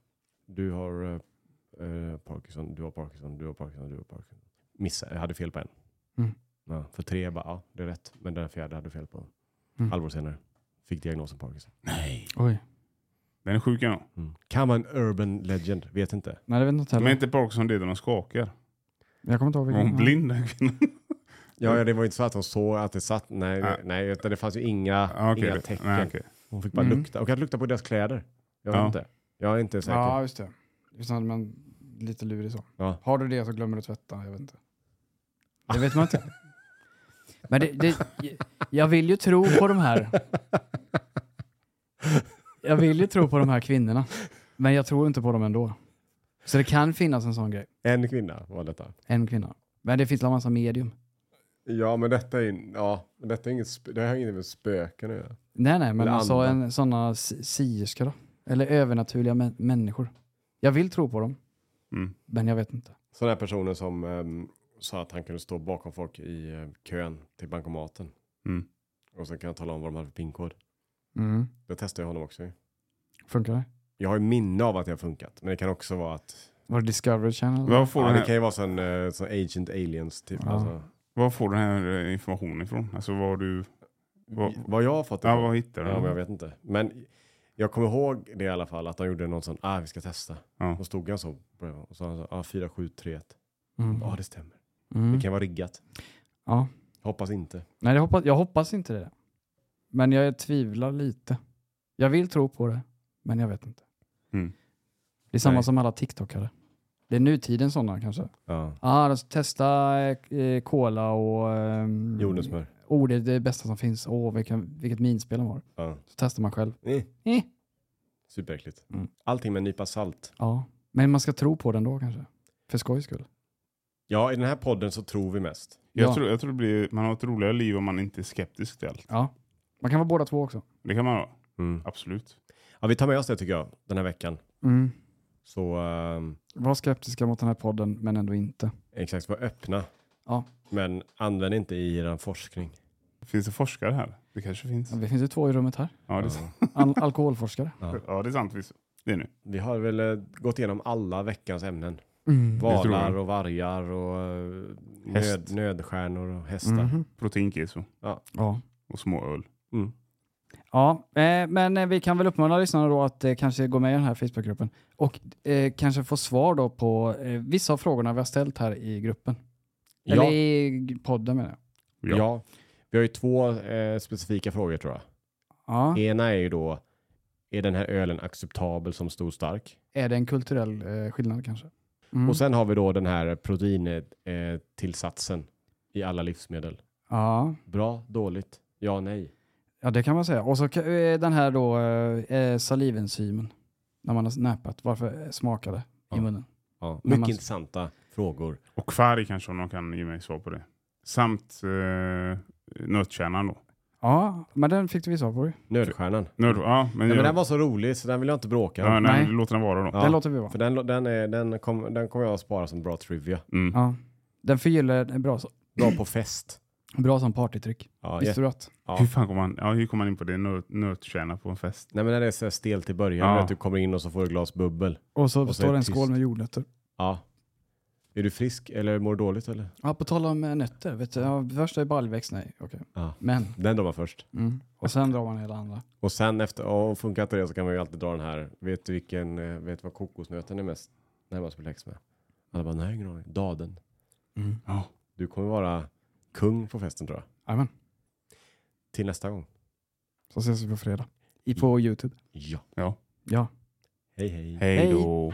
Du har eh, eh, Parkinson, du har Parkinson, du har Parkinson, du har Parkinson. Missade, jag hade fel på en.
Mm.
Ja, för tre bara, ja det är rätt. Men den fjärde hade fel på.
Mm.
Halvår senare fick diagnosen Parkinson.
Nej.
Oj.
Den är sjuk ändå.
Mm. Kan vara en urban legend, vet inte.
Nej, det vet jag inte
Men
heller.
är inte Parkinson det när de skakar?
Jag kommer inte ihåg
Var hon
vilken.
blind den kvinnan?
Ja, ja, det var ju inte så att hon såg att det satt, nej,
Ah.
nej utan det fanns ju inga,
Ja, okej.
inga tecken.
Nej, okej.
Hon fick bara
Mm.
lukta, och att lukta på deras kläder. Jag
Ja.
vet inte. Jag är inte säker.
Ja, just det. Just det, men lite lurig så.
Ja.
Har du det så glömmer du att tvätta. Jag vet inte. Det vet man inte. Men det, det, jag vill ju tro på de här. Jag vill ju tro på de här kvinnorna. Men jag tror inte på dem ändå. Så det kan finnas en sån grej.
En kvinna var detta.
En kvinna. Men det finns en massa medium.
Ja, men detta är, ja, men detta är inget, sp- det här har inget med spöken att göra.
Nej, nej, men
Eller
alltså
andar.
en, såna si- sierskor då. Eller övernaturliga mä- människor. Jag vill tro på dem,
Mm.
men jag vet inte.
Sådana här personer som ehm, sa att han kunde stå bakom folk i eh, kön till bankomaten.
Mm.
Och sen kan jag tala om vad de hade för pinkod.
Mm.
Det testade jag honom också. ju.
Funkar det?
Jag har ju minne av att det har funkat, men det kan också vara att
Var det Discovery Channel?
Vad får
ja,
den
det
här?
kan ju vara sån, eh, sån Agent Aliens typ.
Ja.
Alltså,
Var får du den här eh, informationen ifrån? Alltså var du... Var,
Vad jag har fått det
ja,
från.
vad hittar du?
Ja, men jag vet inte. Men jag kommer ihåg det i alla fall, att de gjorde någon sån, ah vi ska testa.
Ja.
Då stod han så, bredvid, och så sa han så, ah 4731.
Mm.
Ja, det stämmer.
Mm.
Det kan vara riggat.
Ja.
Hoppas inte.
Nej, jag hoppas, jag hoppas inte det. Men jag tvivlar lite. Jag vill tro på det, men jag vet inte.
Mm.
Det är samma
Nej.
som alla TikTokare. Det är nutiden sådana kanske.
Ja.
Ah, alltså, testa eh, cola och... ehm,
Jordnötssmör.
Oh, det är det bästa som finns. Åh, vilken, vilket minspel de har.
Ja.
Så testar man själv.
Eh,
Eh.
superäckligt.
Mm.
Allting med en nypa salt.
Ja, men man ska tro på den då kanske. För skojs skull.
Ja, i den här podden så tror vi mest.
Jag,
Ja.
tror, jag tror det blir, man har ett roligare liv om man inte är skeptisk till allt.
Ja. Man kan vara båda två också.
Det kan man vara,
Mm.
absolut.
Ja, vi tar med oss det tycker jag, den här veckan. Så ehm,
Mm. Var skeptiska mot den här podden, men ändå inte.
exakt, var öppna.
Ja.
Men använd inte i er forskning.
Finns det forskare här? Det kanske finns.
Ja, Det finns ju två i rummet här.
Ja, det är, sant.
Ja.
Al alkoholforskare.
ja, det är sant. visst. Det är nu.
Vi har väl eh, gått igenom alla veckans ämnen.
Mm.
tror jag.
Valar och vargar och eh,
Häst.
nöd, nödstjärnor och hästar.
Mhm.
Proteinkeso
Ja.
och småöl.
Ja, eh, men eh, vi kan väl uppmana lyssnarna då att eh, kanske gå med i den här Facebookgruppen och eh, kanske få svar då på eh, vissa av frågorna vi har ställt här i gruppen. Eller
Ja,
i g- podden menar jag.
ja. vi har ju två eh, specifika frågor tror jag.
Ja.
Ena är ju då, är den här ölen acceptabel som stor stark?
Är det en kulturell eh, skillnad kanske? Mm.
Och sen har vi då den här proteintillsatsen eh, tillsatsen i alla livsmedel.
ja.
Bra, dåligt, ja, nej.
Ja, det kan man säga. Och så ka- eh, den här då eh, salivenzymen. När man har snäpat, varför eh, smakar det i
Ja.
munnen?
Ja.
Men
Mycket
man-
intressanta frågor.
Och kvarg kanske om någon kan ge mig svar på det. Samt eh, nötkärnan då.
Ja, men den fick vi svar på ju.
Nödstjärnan.
Nöt, ja, men,
Ja,
jag,
men den var så rolig så den vill jag inte bråka om.
ja, nej,
Nej.
men låt den vara då.
Ja.
Den låter vi vara.
För den, den, är, den, kom, den kommer jag att spara som bra trivia.
Mm.
Ja. Den förgyller är bra, så-
Bra på fest.
bra som partytryck.
Ja,
Visste du att?
Ja.
Hur fan kommer man, ja, hur kommer man in på det? Nöt, nötkärna på en fest?
Nej men när det är så här stelt i början,
Ja.
att du kommer in och så får du ett glas bubbel.
Och så
så
står
är
det en
tyst.
skål med jordnötter.
Ja. Är du frisk eller mår du dåligt eller?
Ja, på tal om eh, nötter. Vet du, ja, först är baljväxt, nej. Okej.
Ja.
Men.
Den drar man först.
Mm. Och sen drar man hela andra.
Och sen efter, och funkar inte det så kan man ju alltid dra den här, vet du vilken, eh, vet du vad kokosnöten är mest närmast belägst med? Alla bara, nej ingen aning. Daden.
Mm.
Ja.
Du kommer vara kung på festen tror jag.
Amen.
Till nästa gång.
Så ses vi på fredag. I, på YouTube.
Ja.
Ja.
Ja.
Hej hej.
Hej
Hej.
då.